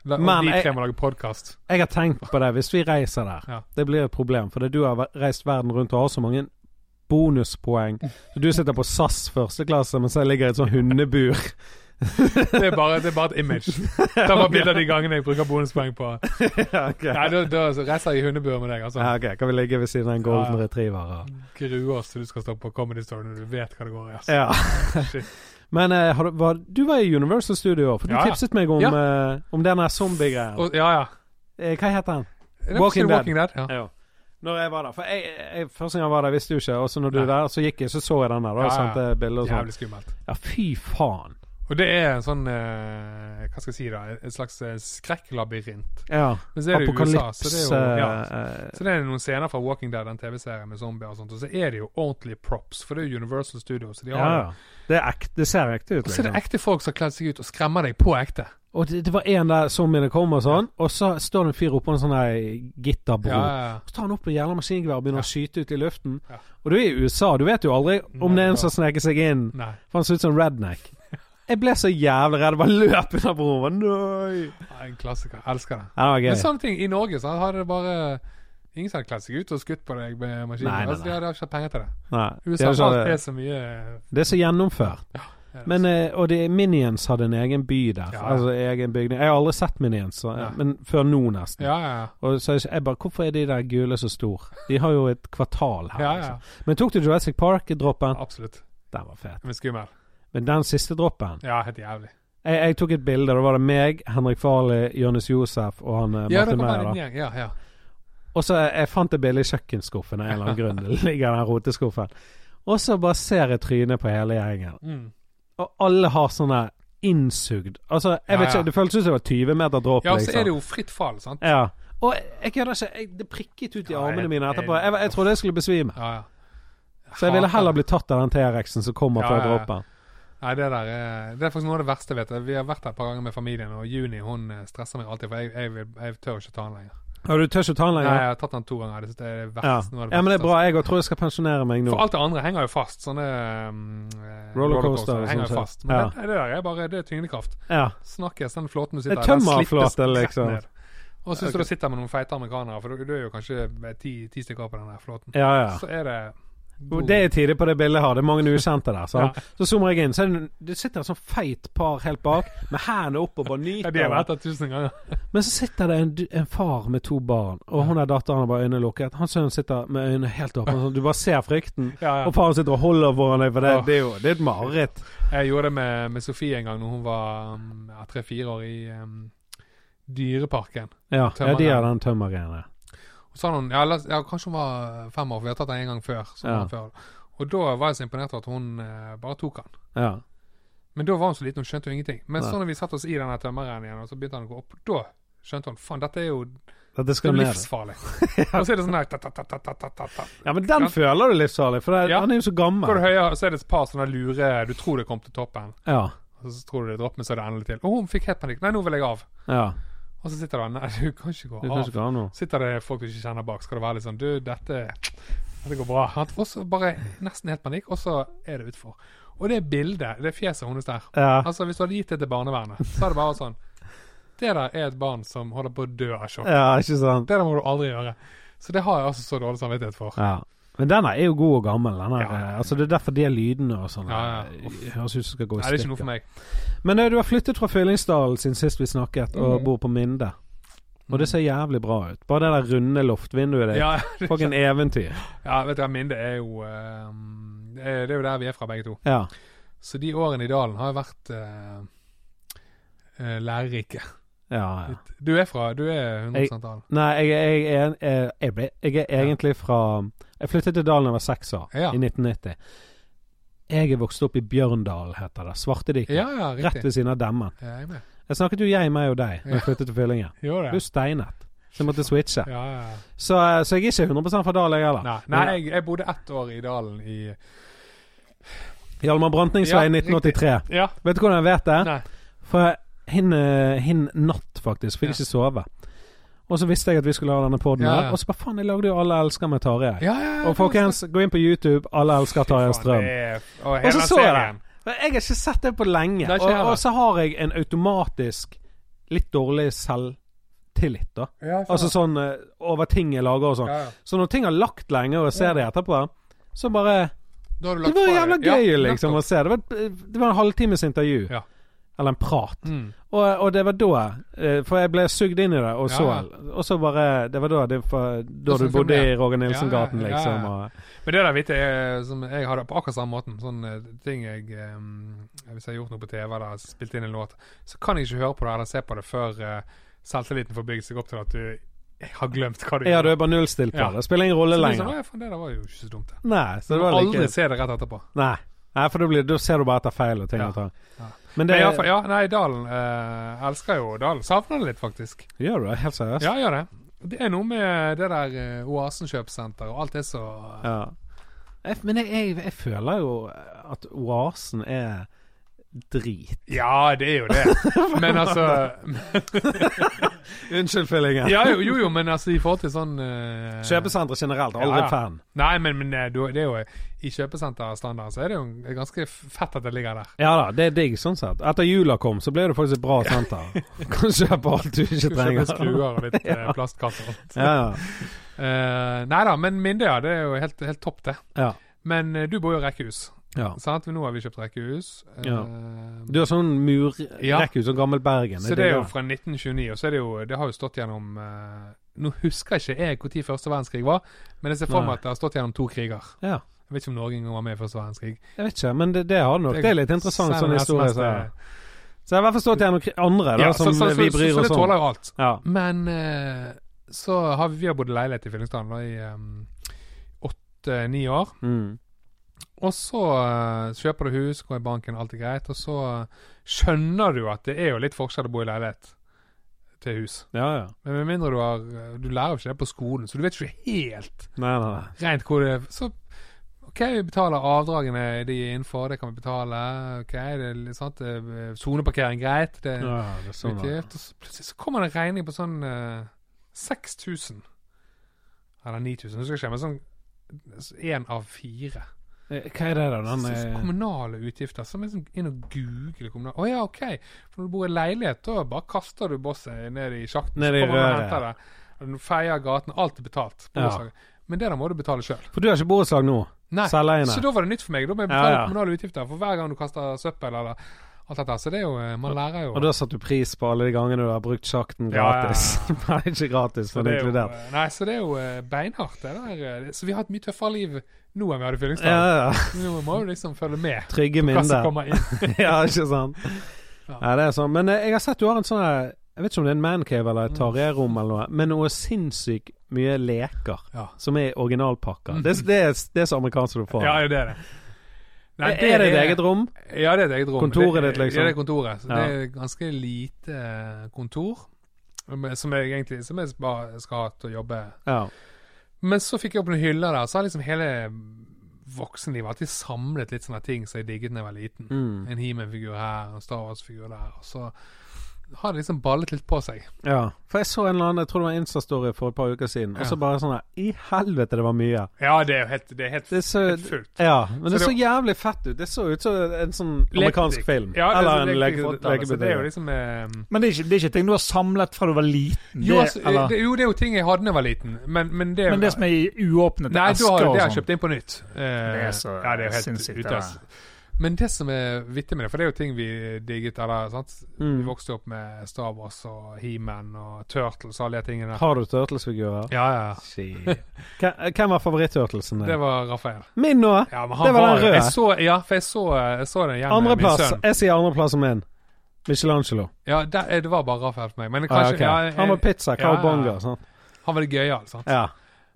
S3: La,
S1: Men
S3: og de
S1: jeg-
S3: tre må lage podkast.
S1: Jeg har tenkt på det, hvis vi reiser der.
S3: Ja.
S1: Det blir et problem, for det du har ve- reist verden rundt og har så mange bonuspoeng. Så du sitter på SAS første klasse, mens jeg ligger i et sånt hundebur.
S3: Det er bare, det er bare et image. Ta bare bilder de gangene jeg bruker bonuspoeng på.
S1: ja, ok.
S3: Nei, da, da reiser jeg i hundebuer med deg, altså.
S1: ja, ok. Kan vi ligge ved siden av en golden
S3: Ja, ja.
S1: retriever? Og...
S3: Grue oss til du skal stå på Comedy Store når du vet hva det går i. Altså.
S1: Ja.
S3: Shit.
S1: Men eh, har du, var, du var i Universal Studio i år, for du
S3: Ja, ja.
S1: tipset meg om,
S3: Ja.
S1: eh, om den her zombie-greien.
S3: Og, ja, ja.
S1: Eh, hva heter den?
S3: Er det
S1: Walking
S3: Walking,
S1: Dead.
S3: Walking Dead. Ja.
S1: Når jeg var der. For jeg, jeg, første gang jeg var der, visste du ikke. Og så når du
S3: Nei.
S1: er der, så gikk jeg, så så jeg den der. Da,
S3: Ja,
S1: og
S3: ja.
S1: sendte bilder og sånn.
S3: Jævlig skummelt.
S1: Ja, fy faen.
S3: Og det er en sånn eh, Hva skal jeg si, da? Et slags eh, skrekklabyrint.
S1: Ja.
S3: Men så er det jo USA,
S1: Apokalypse
S3: så det er jo ja.
S1: eh, eh,
S3: Så det er noen scener fra Walking Dead, den TV-serien med zombier og sånt, og så er det jo ordentlige props, for det er jo Universal Studios, så de
S1: ja,
S3: har
S1: ja. Det, er ekte, det ser ekte ut.
S3: Og så er det
S1: Liksom.
S3: ekte folk som har kledd seg ut og skremmer deg på ekte.
S1: Og det, det var en der zombiene kom og sånn, og så står det en fyr oppå en sånn her gitterbro.
S3: Ja, ja, ja.
S1: Så tar han opp en jævla maskingevær og begynner å skyte ut i luften.
S3: Ja.
S1: Og du er i USA, du vet jo aldri om
S3: Nei,
S1: det er
S3: ja.
S1: en som sneker seg inn.
S3: Nei.
S1: For han så ut som redneck. Jeg ble så jævlig redd. Bare løp under broen. Nei!
S3: Ja, En klassiker. Elsker det.
S1: Ja, det var gøy.
S3: Men sånne ting, i Norge så hadde det bare Ingen som hadde kledd seg ut og skutt på deg med maskiner.
S1: Nei, nei,
S3: Altså, de hadde ikke hatt penger til det.
S1: Nei, det,
S3: USA
S1: er
S3: det
S1: så,
S3: er, er så mye
S1: det er så gjennomført.
S3: ja,
S1: Men, eh, og det, Minions hadde en egen by der.
S3: Ja.
S1: Altså egen bygning. Jeg har aldri sett Minions, så,
S3: Nei.
S1: men før nå nesten.
S3: ja, ja,
S1: Og så er jeg- jeg bare Hvorfor er de der gule så store? De har jo et kvartal her.
S3: ja,
S1: liksom.
S3: ja.
S1: Men tok du Jurassic Park-droppen?
S3: Absolutt.
S1: Den var fet.
S3: Men skummel.
S1: Men den siste droppen
S3: Ja, helt jævlig.
S1: Jeg, jeg tok et bilde. Da var det meg, Henrik Farley, Jonis Josef og han eh,
S3: Ja, det
S1: Martin
S3: kan
S1: Meyer.
S3: være
S1: da.
S3: en gjeng. Ja, ja.
S1: Og så eh, jeg fant det bildet i kjøkkenskuffen av en eller annen grunn. Det ligger i den roteskuffen. Og så bare ser jeg trynet på hele gjengen.
S3: Mm.
S1: Og alle har sånne innsugd Altså, jeg vet
S3: Ja, ja.
S1: ikke, det føltes ut som det var 20 meter dråp, liksom.
S3: ja, og så er det jo fritt fall, sant?
S1: Ja. Og jeg- jeg kødder ikke. Jeg, det prikket ut i
S3: Ja,
S1: armene
S3: jeg-
S1: mine etterpå.
S3: jeg-
S1: Jeg, jeg trodde jeg skulle besvime.
S3: Ja, ja.
S1: Så jeg ville heller bli tatt av den T-rexen som kommer
S3: Ja,
S1: fra
S3: ja, ja.
S1: dråpen.
S3: Nei, det der er, det er faktisk noe av det verste jeg vet. Vi har vært der et par ganger med familien, og Juni hun eh, stresser meg alltid, for jeg, jeg, vil, jeg tør ikke ta den lenger.
S1: Ah, Ja, du tør ikke ta den
S3: Nei, jeg
S1: lenger?
S3: har tatt den to ganger. Det synes jeg er det
S1: Ja.
S3: verste, noe av det verste.
S1: ja, men det er
S3: altså.
S1: bra. Jeg òg tror jeg skal pensjonere meg nå.
S3: For alt det andre henger jo fast. Sånne um,
S1: Rollercoaster,
S3: eh, rollercoaster
S1: sånn
S3: henger
S1: sett.
S3: jo fast. Men
S1: Ja.
S3: det, det der er bare det er tyngdekraft.
S1: Ja.
S3: Snakkes, den flåten du
S1: Det er
S3: sitter i, den
S1: tømmerflåte,
S3: slippes rett
S1: liksom.
S3: ned. Og så hvis
S1: Ok.
S3: du da sitter med noen feite amerikanere, for du, du er jo kanskje eh, ti, ti stykker på den der flåten,
S1: Ja, ja.
S3: så er det
S1: Og Det er tidlig på det bildet jeg har. Det er mange ukjente der. sant? Så zoomer jeg inn. Så er det, det sitter et sånn feit par helt bak med hendene opp og bare
S3: Ja,
S1: nyter.
S3: de har vært der tusen ganger.
S1: Men så sitter det en, en far med to barn, og hun er datteren har bare øynene lukket. Han sønnen sitter med øynene helt åpne. Sånn, du bare ser frykten.
S3: Ja, ja.
S1: Og faren sitter og holder foran deg, for det,
S3: Åh.
S1: det er jo det er et mareritt.
S3: Jeg gjorde det med, med Sofie en gang når hun var um, ja, tre-fire år i um, Dyreparken.
S1: Ja, ja, de
S3: Tømmergren.
S1: har den tømmergreia der.
S3: Og så hadde hun, ja, la, oss- ja, Kanskje hun var fem år, for vi har tatt den en gang før. Så
S1: Ja.
S3: var hun før. Og da var jeg så imponert over at hun eh, bare tok den.
S1: Ja.
S3: Men da var hun så liten, hun skjønte jo ingenting. Men
S1: Nei.
S3: så når vi satte oss i denne tømmerreinen igjen, og så begynte han å gå opp, da skjønte hun faen, dette er jo
S1: Dette skal ned.
S3: livsfarlig. Og så er det sånn der ta, ta, ta, ta, ta, ta, ta, ta.
S1: Ja, men den
S3: Ja.
S1: føler du livsfarlig, for det, er-
S3: Ja.
S1: han er jo så
S3: Går du
S1: gammel.
S3: høyere, så er det et par sånne lure Du tror det kom til toppen,
S1: Ja.
S3: og så tror du det dropp, men så er det endelig til. Og hun fikk helt panikk. Nei, nå vil jeg av.
S1: ja.
S3: Og så sitter det Nei, du kan ikke gå
S1: Du kan
S3: av.
S1: ikke ha noe.
S3: Sitter det folk du ikke kjenner bak, skal det være litt sånn Du, dette, dette går bra. Han får så bare nesten helt panikk, og så er det utfor. Og det bildet, det fjeset hennes der
S1: Ja.
S3: Altså, hvis du hadde gitt det til barnevernet, så hadde det bare vært sånn Det der er et barn som holder på å dø av sjokk.
S1: ja, ikke sant.
S3: Det der må du aldri gjøre. Så det har jeg altså så dårlig samvittighet for.
S1: Ja. Men denne er jo god og gammel. Den her,
S3: Ja.
S1: eh, altså Det er derfor de lydene og sånn
S3: Ja, ja.
S1: eh, høres ut som skal gå i
S3: Nei, det er ikke noe for
S1: stykker.
S3: meg.
S1: Men eh, du har flyttet fra Fyllingsdalen siden sist vi snakket, og
S3: Mhm.
S1: bor på Minde. Og det ser jævlig bra ut. Bare det der runde loftvinduet ditt.
S3: Mm. Ja,
S1: Fucking eventyr.
S3: ja vet du hva, Minde er jo eh, det er det er jo der vi er fra, begge to.
S1: Ja.
S3: Så de årene i dalen har jo vært eh, eh, lærerike.
S1: ja, ja.
S3: Litt- Du er fra Du er 100 dal.
S1: Nei, jeg, jeg, er en- eh, jeg, ble, jeg er egentlig fra Jeg flyttet til Dalen da jeg var seks år,
S3: Ja.
S1: i 1990. Jeg er vokst opp i Bjørndalen, heter det. Svartediket.
S3: Ja, ja,
S1: Rett
S3: riktig.
S1: ved siden av demmen.
S3: Ja, Jeg er med.
S1: Jeg snakket jo jeg, meg og deg da jeg
S3: Ja.
S1: flyttet til Fyllingen. Du
S3: Gjorde det?
S1: steinet. Så jeg måtte switche.
S3: Ja, ja. ja.
S1: Så, eh, så jeg er ikke 100 fra Dalen, jeg heller.
S3: Nei, nei jeg, jeg bodde ett år i dalen i
S1: Hjalmar Brantningsvei
S3: Ja,
S1: 1983.
S3: Ja.
S1: Vet du hvordan jeg vet det?
S3: Nei.
S1: For hin, eh, hin natt, faktisk. Fikk
S3: Ja.
S1: ikke sove. Og så visste jeg at vi skulle ha denne poden
S3: Ja, ja.
S1: her. Og så bare faen, jeg lagde jo Alle elsker med Tarjei.
S3: Ja, ja, ja,
S1: Og folkens, gå inn på YouTube. Alle elsker Tarjei Strøm.
S3: Og
S1: Og så
S3: hele
S1: så jeg
S3: serien.
S1: det. Men Jeg har ikke sett det på lenge.
S3: Nei, ikke
S1: Og,
S3: heller.
S1: og så har jeg en automatisk litt dårlig selvtillit, da.
S3: Ja, jeg skjønner.
S1: Altså sånn eh, over ting jeg lager og sånn.
S3: ja, ja.
S1: Så når ting har lagt lenge, og jeg ser det etterpå, så bare
S3: Da har du
S1: Det
S3: lagt
S1: var
S3: fra
S1: jævla
S3: deg.
S1: gøy,
S3: Ja,
S1: liksom, å
S3: nettopp.
S1: se. Det var, et- det var en halvtimes intervju.
S3: Ja.
S1: Eller en prat.
S3: Mm.
S1: Og, og det var da eh, For jeg ble sugd inn i det, og så
S3: Ja,
S1: Og så bare Det var da, det, var da
S3: Og
S1: du bodde
S3: så kom
S1: i
S3: det.
S1: Roger Nilsen-gaten,
S3: Ja, ja, ja,
S1: liksom.
S3: ja.
S1: Og,
S3: Men det der vet jeg, eh, som jeg har det på akkurat samme måten. Sånn eh, ting jeg eh, Hvis jeg har gjort noe på TV eller spilt inn en låt, så kan jeg ikke høre på det eller se på det før eh, selvtilliten får bygd seg opp til at du har glemt hva du
S1: ja, du er bare nullstilt på
S3: Ja.
S1: det. Spiller ingen rolle
S3: Så blir det sånn,
S1: lenger.
S3: «Å, ja, faen, det der var jo ikke så dumt, det.
S1: Nei, så
S3: Du
S1: det
S3: må
S1: var
S3: aldri
S1: like
S3: se det rett etterpå.
S1: Nei. Nei, for da, blir, da ser du bare etter feil og ting
S3: Ja.
S1: og tang.
S3: Ja.
S1: Men
S3: Men
S1: det
S3: i alle fall, ja, nei, Dalen eh, elsker jo Dalen. Savner det litt, faktisk.
S1: gjør du det, helt seriøst?
S3: Ja, gjør det. Det er noe med det der eh, Oasen kjøpesenter og alt det så
S1: Ja. Jeg, men jeg, jeg, jeg føler jo at oasen er drit.
S3: Ja, det er jo det. Men altså
S1: Unnskyld fyllingen.
S3: ja, jo, jo, jo, men altså i forhold til sånn eh,
S1: Kjøpesentre generelt,
S3: Ja,
S1: aldri
S3: ja.
S1: fan.
S3: Nei, men, men eh, du- det er jo i kjøpesenterstandarden så er det jo en- ganske fett at det ligger der.
S1: Ja da, det er digg sånn sett. Etter jula kom, så ble det faktisk et bra senter. Kan kjøpe alt du ikke
S3: Du kjøper
S1: trenger.
S3: skruer og litt eh, plastkasser. og alt.
S1: Ja, ja.
S3: Eh, nei da, men Minde, ja. Det er jo helt, helt topp, det.
S1: Ja.
S3: Men eh, du bor jo i rekkehus.
S1: ja.
S3: Sant? Nå har vi kjøpt rekkehus. eh,
S1: Ja. Du har sånn
S3: Ja.
S1: murrekkehus som gammel Bergen.
S3: så det er jo fra 1929, og så er det jo Det har jo stått gjennom eh, Nå husker jeg ikke jeg når første verdenskrig var, men jeg ser for
S1: Nei.
S3: meg at det har stått gjennom to kriger.
S1: Ja.
S3: Jeg vet ikke om Norge engang var med i første verdenskrig.
S1: Jeg vet ikke, men det, det har det nok. Det er litt interessant
S3: Send
S1: sånn
S3: en
S1: historie.
S3: SMS
S1: Så,
S3: til-
S1: så jeg har i hvert fall stått gjennom kri- andre da,
S3: eh, Ja, så,
S1: som
S3: så, så,
S1: sånn vi
S3: så,
S1: bryr
S3: så det
S1: oss om.
S3: tåler jo alt.
S1: Ja.
S3: Men eh, så har vi, vi har bodd i leilighet i Fyllingsdalen da, i åtte-ni år.
S1: Mm.
S3: Og så eh, kjøper du hus, går i banken, alt er greit. Og så skjønner du at det er jo litt forskjell å bo i leilighet til hus.
S1: Ja, ja.
S3: Men med mindre du har Du lærer jo ikke det på skolen, så du vet ikke helt
S1: Nei, nei, nei.
S3: rent hvor det Så OK, vi betaler avdragene de er innenfor, det kan vi betale. OK, det er litt sant eh, Soneparkering, greit. Det er
S1: Ja, det er sånn, ja.
S3: utgift. Og så plutselig så kommer det en regning på sånn eh, 6000. Eller 9000, husker jeg ikke. Men sånn én av fire.
S1: Eh, Hva er det da? Den eh,
S3: Så- så
S1: er
S3: kommunale utgifter. Så må jeg liksom inn og google kommunale Å ja, OK. For når du bor i leilighet, da bare kaster du bosset ned i sjakten.
S1: Ned i
S3: så kommer noen og
S1: røret.
S3: henter det. Og Du feier gaten. Alt er betalt.
S1: Ja.
S3: borettslaget. Men det der må du betale sjøl.
S1: For du har ikke borettslag nå?
S3: Nei.
S1: Selveiende.
S3: Så da var det nytt for meg. Da må jeg
S1: Ja,
S3: betale
S1: ja.
S3: kommunale utgifter for hver gang du kaster søppel eller alt dette. Så det er jo eh, Man lærer jo.
S1: Og da satte du pris på alle de gangene du har brukt sjakten
S3: Ja, ja, ja.
S1: gratis. Nei, ikke gratis,
S3: så
S1: men
S3: det er jo,
S1: inkludert.
S3: eh, nei, så det er jo eh, beinhardt, det der. eh, Så vi har et mye tøffere liv nå enn vi hadde
S1: Ja,
S3: i fyllingsdagen.
S1: ja. ja.
S3: Nå må du liksom følge med.
S1: Trygge
S3: Hva som
S1: minner.
S3: kommer inn.
S1: ja, ikke sant?
S3: Ja.
S1: Nei, det er sånn. Men eh, jeg har sett du har en sånn her- Jeg vet ikke om det er en mancave eller
S3: Mm.
S1: et taré-rom eller noe, men noe sinnssykt mye leker
S3: Ja. Mm.
S1: som er originalpakker. Det, er- det, er, det er så amerikansk du får.
S3: Ja, det er det. Nei,
S1: er det et eget rom?
S3: Ja, det er et eget rom.
S1: Kontoret
S3: Det-
S1: ditt, liksom.
S3: Ja, det er kontoret. Så
S1: Ja.
S3: Det er ganske lite eh, kontor. men- Som jeg egentlig som jeg bare skal ha til å jobbe
S1: Ja.
S3: Men så fikk jeg opp noen hyller der, så har liksom hele voksenlivet alltid samlet litt sånne ting som jeg digget da jeg var liten.
S1: Mm.
S3: En He-Man-figur her, en Star Wars-figur der. Og så har det liksom ballet litt på seg.
S1: ja. For jeg så en eller annen, jeg tror det var en Insta-story for et par uker siden, og
S3: Ja.
S1: så bare sånn her I helvete, det var mye.
S3: Ja, det er jo helt, det er helt,
S1: Det er så,
S3: helt fullt.
S1: ja, men det
S3: Så
S1: så
S3: det-
S1: jævlig fett ut. Det så ut som en sånn amerikansk
S3: Lekebutikk.
S1: film.
S3: Ja, det er
S1: eller
S3: sånn
S1: en leke,
S3: lekebutikk, Så det er jo
S1: lekebutikk.
S3: liksom eh,
S2: Men det er, ikke, det er ikke ting du har samlet fra du var liten?
S3: jo,
S2: det,
S3: altså,
S2: eller,
S3: det, jo, det er jo ting jeg hadde da jeg var liten, men, men det
S2: men det som er i uåpnete
S3: Nei, da har
S2: esker
S3: jo
S2: og
S3: det jeg
S2: sånn?
S3: kjøpt inn på nytt. Eh,
S2: Det er så
S3: ja, det er jo helt
S2: sinnssykt,
S3: ute,
S2: det
S3: ass. Men det som er vittig med det, for det er jo ting vi digget eller, sant? Vi
S1: Mm.
S3: vokste opp med Star Wars og He-Man og Turtles og alle de tingene.
S1: Har du turtlesfigurer?
S3: Ja, ja.
S1: Shit. Hvem hvem var favoritt-turtlesen
S3: Det
S1: din?
S3: var Rafael.
S1: Min nå!
S3: Ja, men
S1: Det var den
S3: jo-
S1: røde.
S3: Jeg så, ja, for jeg så, jeg så den igjen med min
S1: Andreplass.
S3: sønn.
S1: Jeg sier andreplass som min. Michelangelo.
S3: Ja, der, eh, det var bare Rafael for meg. Men
S1: Ah,
S3: kanskje,
S1: ok.
S3: ja, jeg,
S1: Han var pizza,
S3: ja,
S1: cowbonga
S3: ja.
S1: og sånn.
S3: han var det gøyale, sant.
S1: Ja.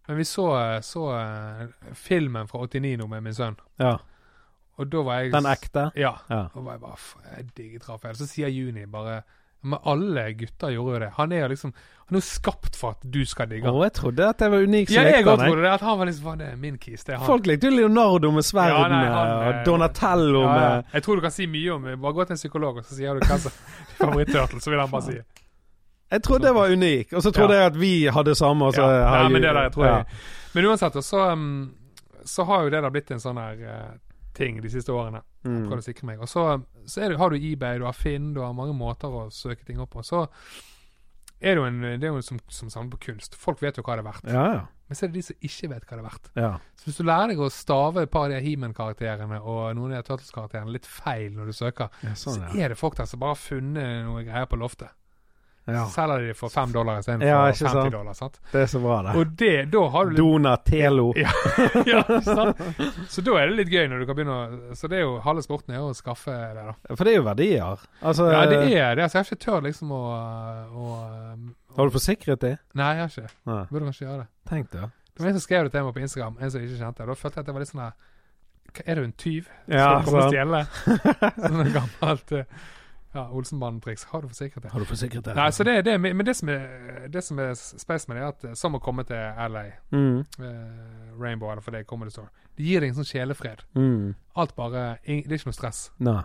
S3: Men vi så, så eh, filmen fra 89 nå med min sønn,
S1: ja.
S3: og da var jeg
S1: Den ekte.
S3: Ja.
S1: Ja.
S3: Og jeg bare, "F- jeg digget Rafael. Så sier Juni bare Men alle gutter gjorde jo det. Han er jo liksom Han er jo skapt for at du skal digge
S1: Å,
S3: ham.
S1: jeg trodde at jeg var unik
S3: Ja,
S1: som
S3: jeg
S1: likte den.
S3: godt
S1: jeg.
S3: trodde det. At han var liksom "Faen, Det er min kis. Det er han.
S1: Folk likte jo Leonardo med
S3: Ja,
S1: sverden
S3: nei, han,
S1: og
S3: eh,
S1: Donatello
S3: ja, ja.
S1: med
S3: Jeg tror du kan si mye om det. Bare gå til en psykolog, og så sier du hva som er favoritt-turtle. Så vil han bare si
S1: Jeg trodde jeg var unik, og så trodde jeg at vi hadde samme. Og så
S3: ja.
S1: har
S3: Nei,
S1: vi-
S3: men det der, jeg tror
S1: Ja.
S3: jeg Men uansett, og så, um, så har jo det da blitt en sånn her eh, ting de siste årene.
S1: Mm.
S3: prøvde å sikre meg. Og så, så er det, har du eBay, du har Finn, du har mange måter å søke ting opp på. Så er det jo, en, det er jo som, som samler på kunst. Folk vet jo hva det er verdt.
S1: Ja, ja.
S3: Men så er det de som ikke vet hva det er verdt.
S1: ja.
S3: Så hvis du lærer deg å stave et par av de her He-Man-karakterene og noen av de her Turtles-karakterene litt feil når du søker,
S1: ja sånn,
S3: så
S1: ja.
S3: er det folk der som bare har funnet noen greier på loftet.
S1: ja.
S3: Så selger de det for fem dollar istedenfor
S1: Ja, ikke
S3: 50
S1: sant.
S3: dollar. sant?
S1: Det er så bra, det.
S3: Og det, da har du litt
S1: Donatello.
S3: Ja. ja, ikke sant? Så da er det litt gøy når du kan begynne å Så det er jo halve sporten er jo å skaffe det, da.
S1: For det er jo verdier. Altså,
S3: Ja, det er det. Altså, jeg har ikke tørt liksom å, å eh,
S1: Har du forsikret det?
S3: Nei, jeg har ikke.
S1: Nei.
S3: Jeg burde kanskje gjøre det.
S1: Tenk det.
S3: Det var en som skrev det til meg på Instagram, en som jeg ikke kjente. Da følte jeg at det var litt sånn her "Hva, Er du en tyv?
S1: Ja,
S3: Skal du komme og
S1: sant.
S3: stjele? Sånn et gammelt eh, ja, Olsenbanen-triks. Har du forsikret det?
S1: Har du forsikret det?
S3: Nei, så det, det, men det som er, det som er space med det, er at eh, som å komme til LA,
S1: Mm.
S3: eh, Rainbow eller for det Comedy Store, det gir deg en sånn sjelefred.
S1: Mm.
S3: Alt bare ing- Det er ikke noe stress.
S1: Nei.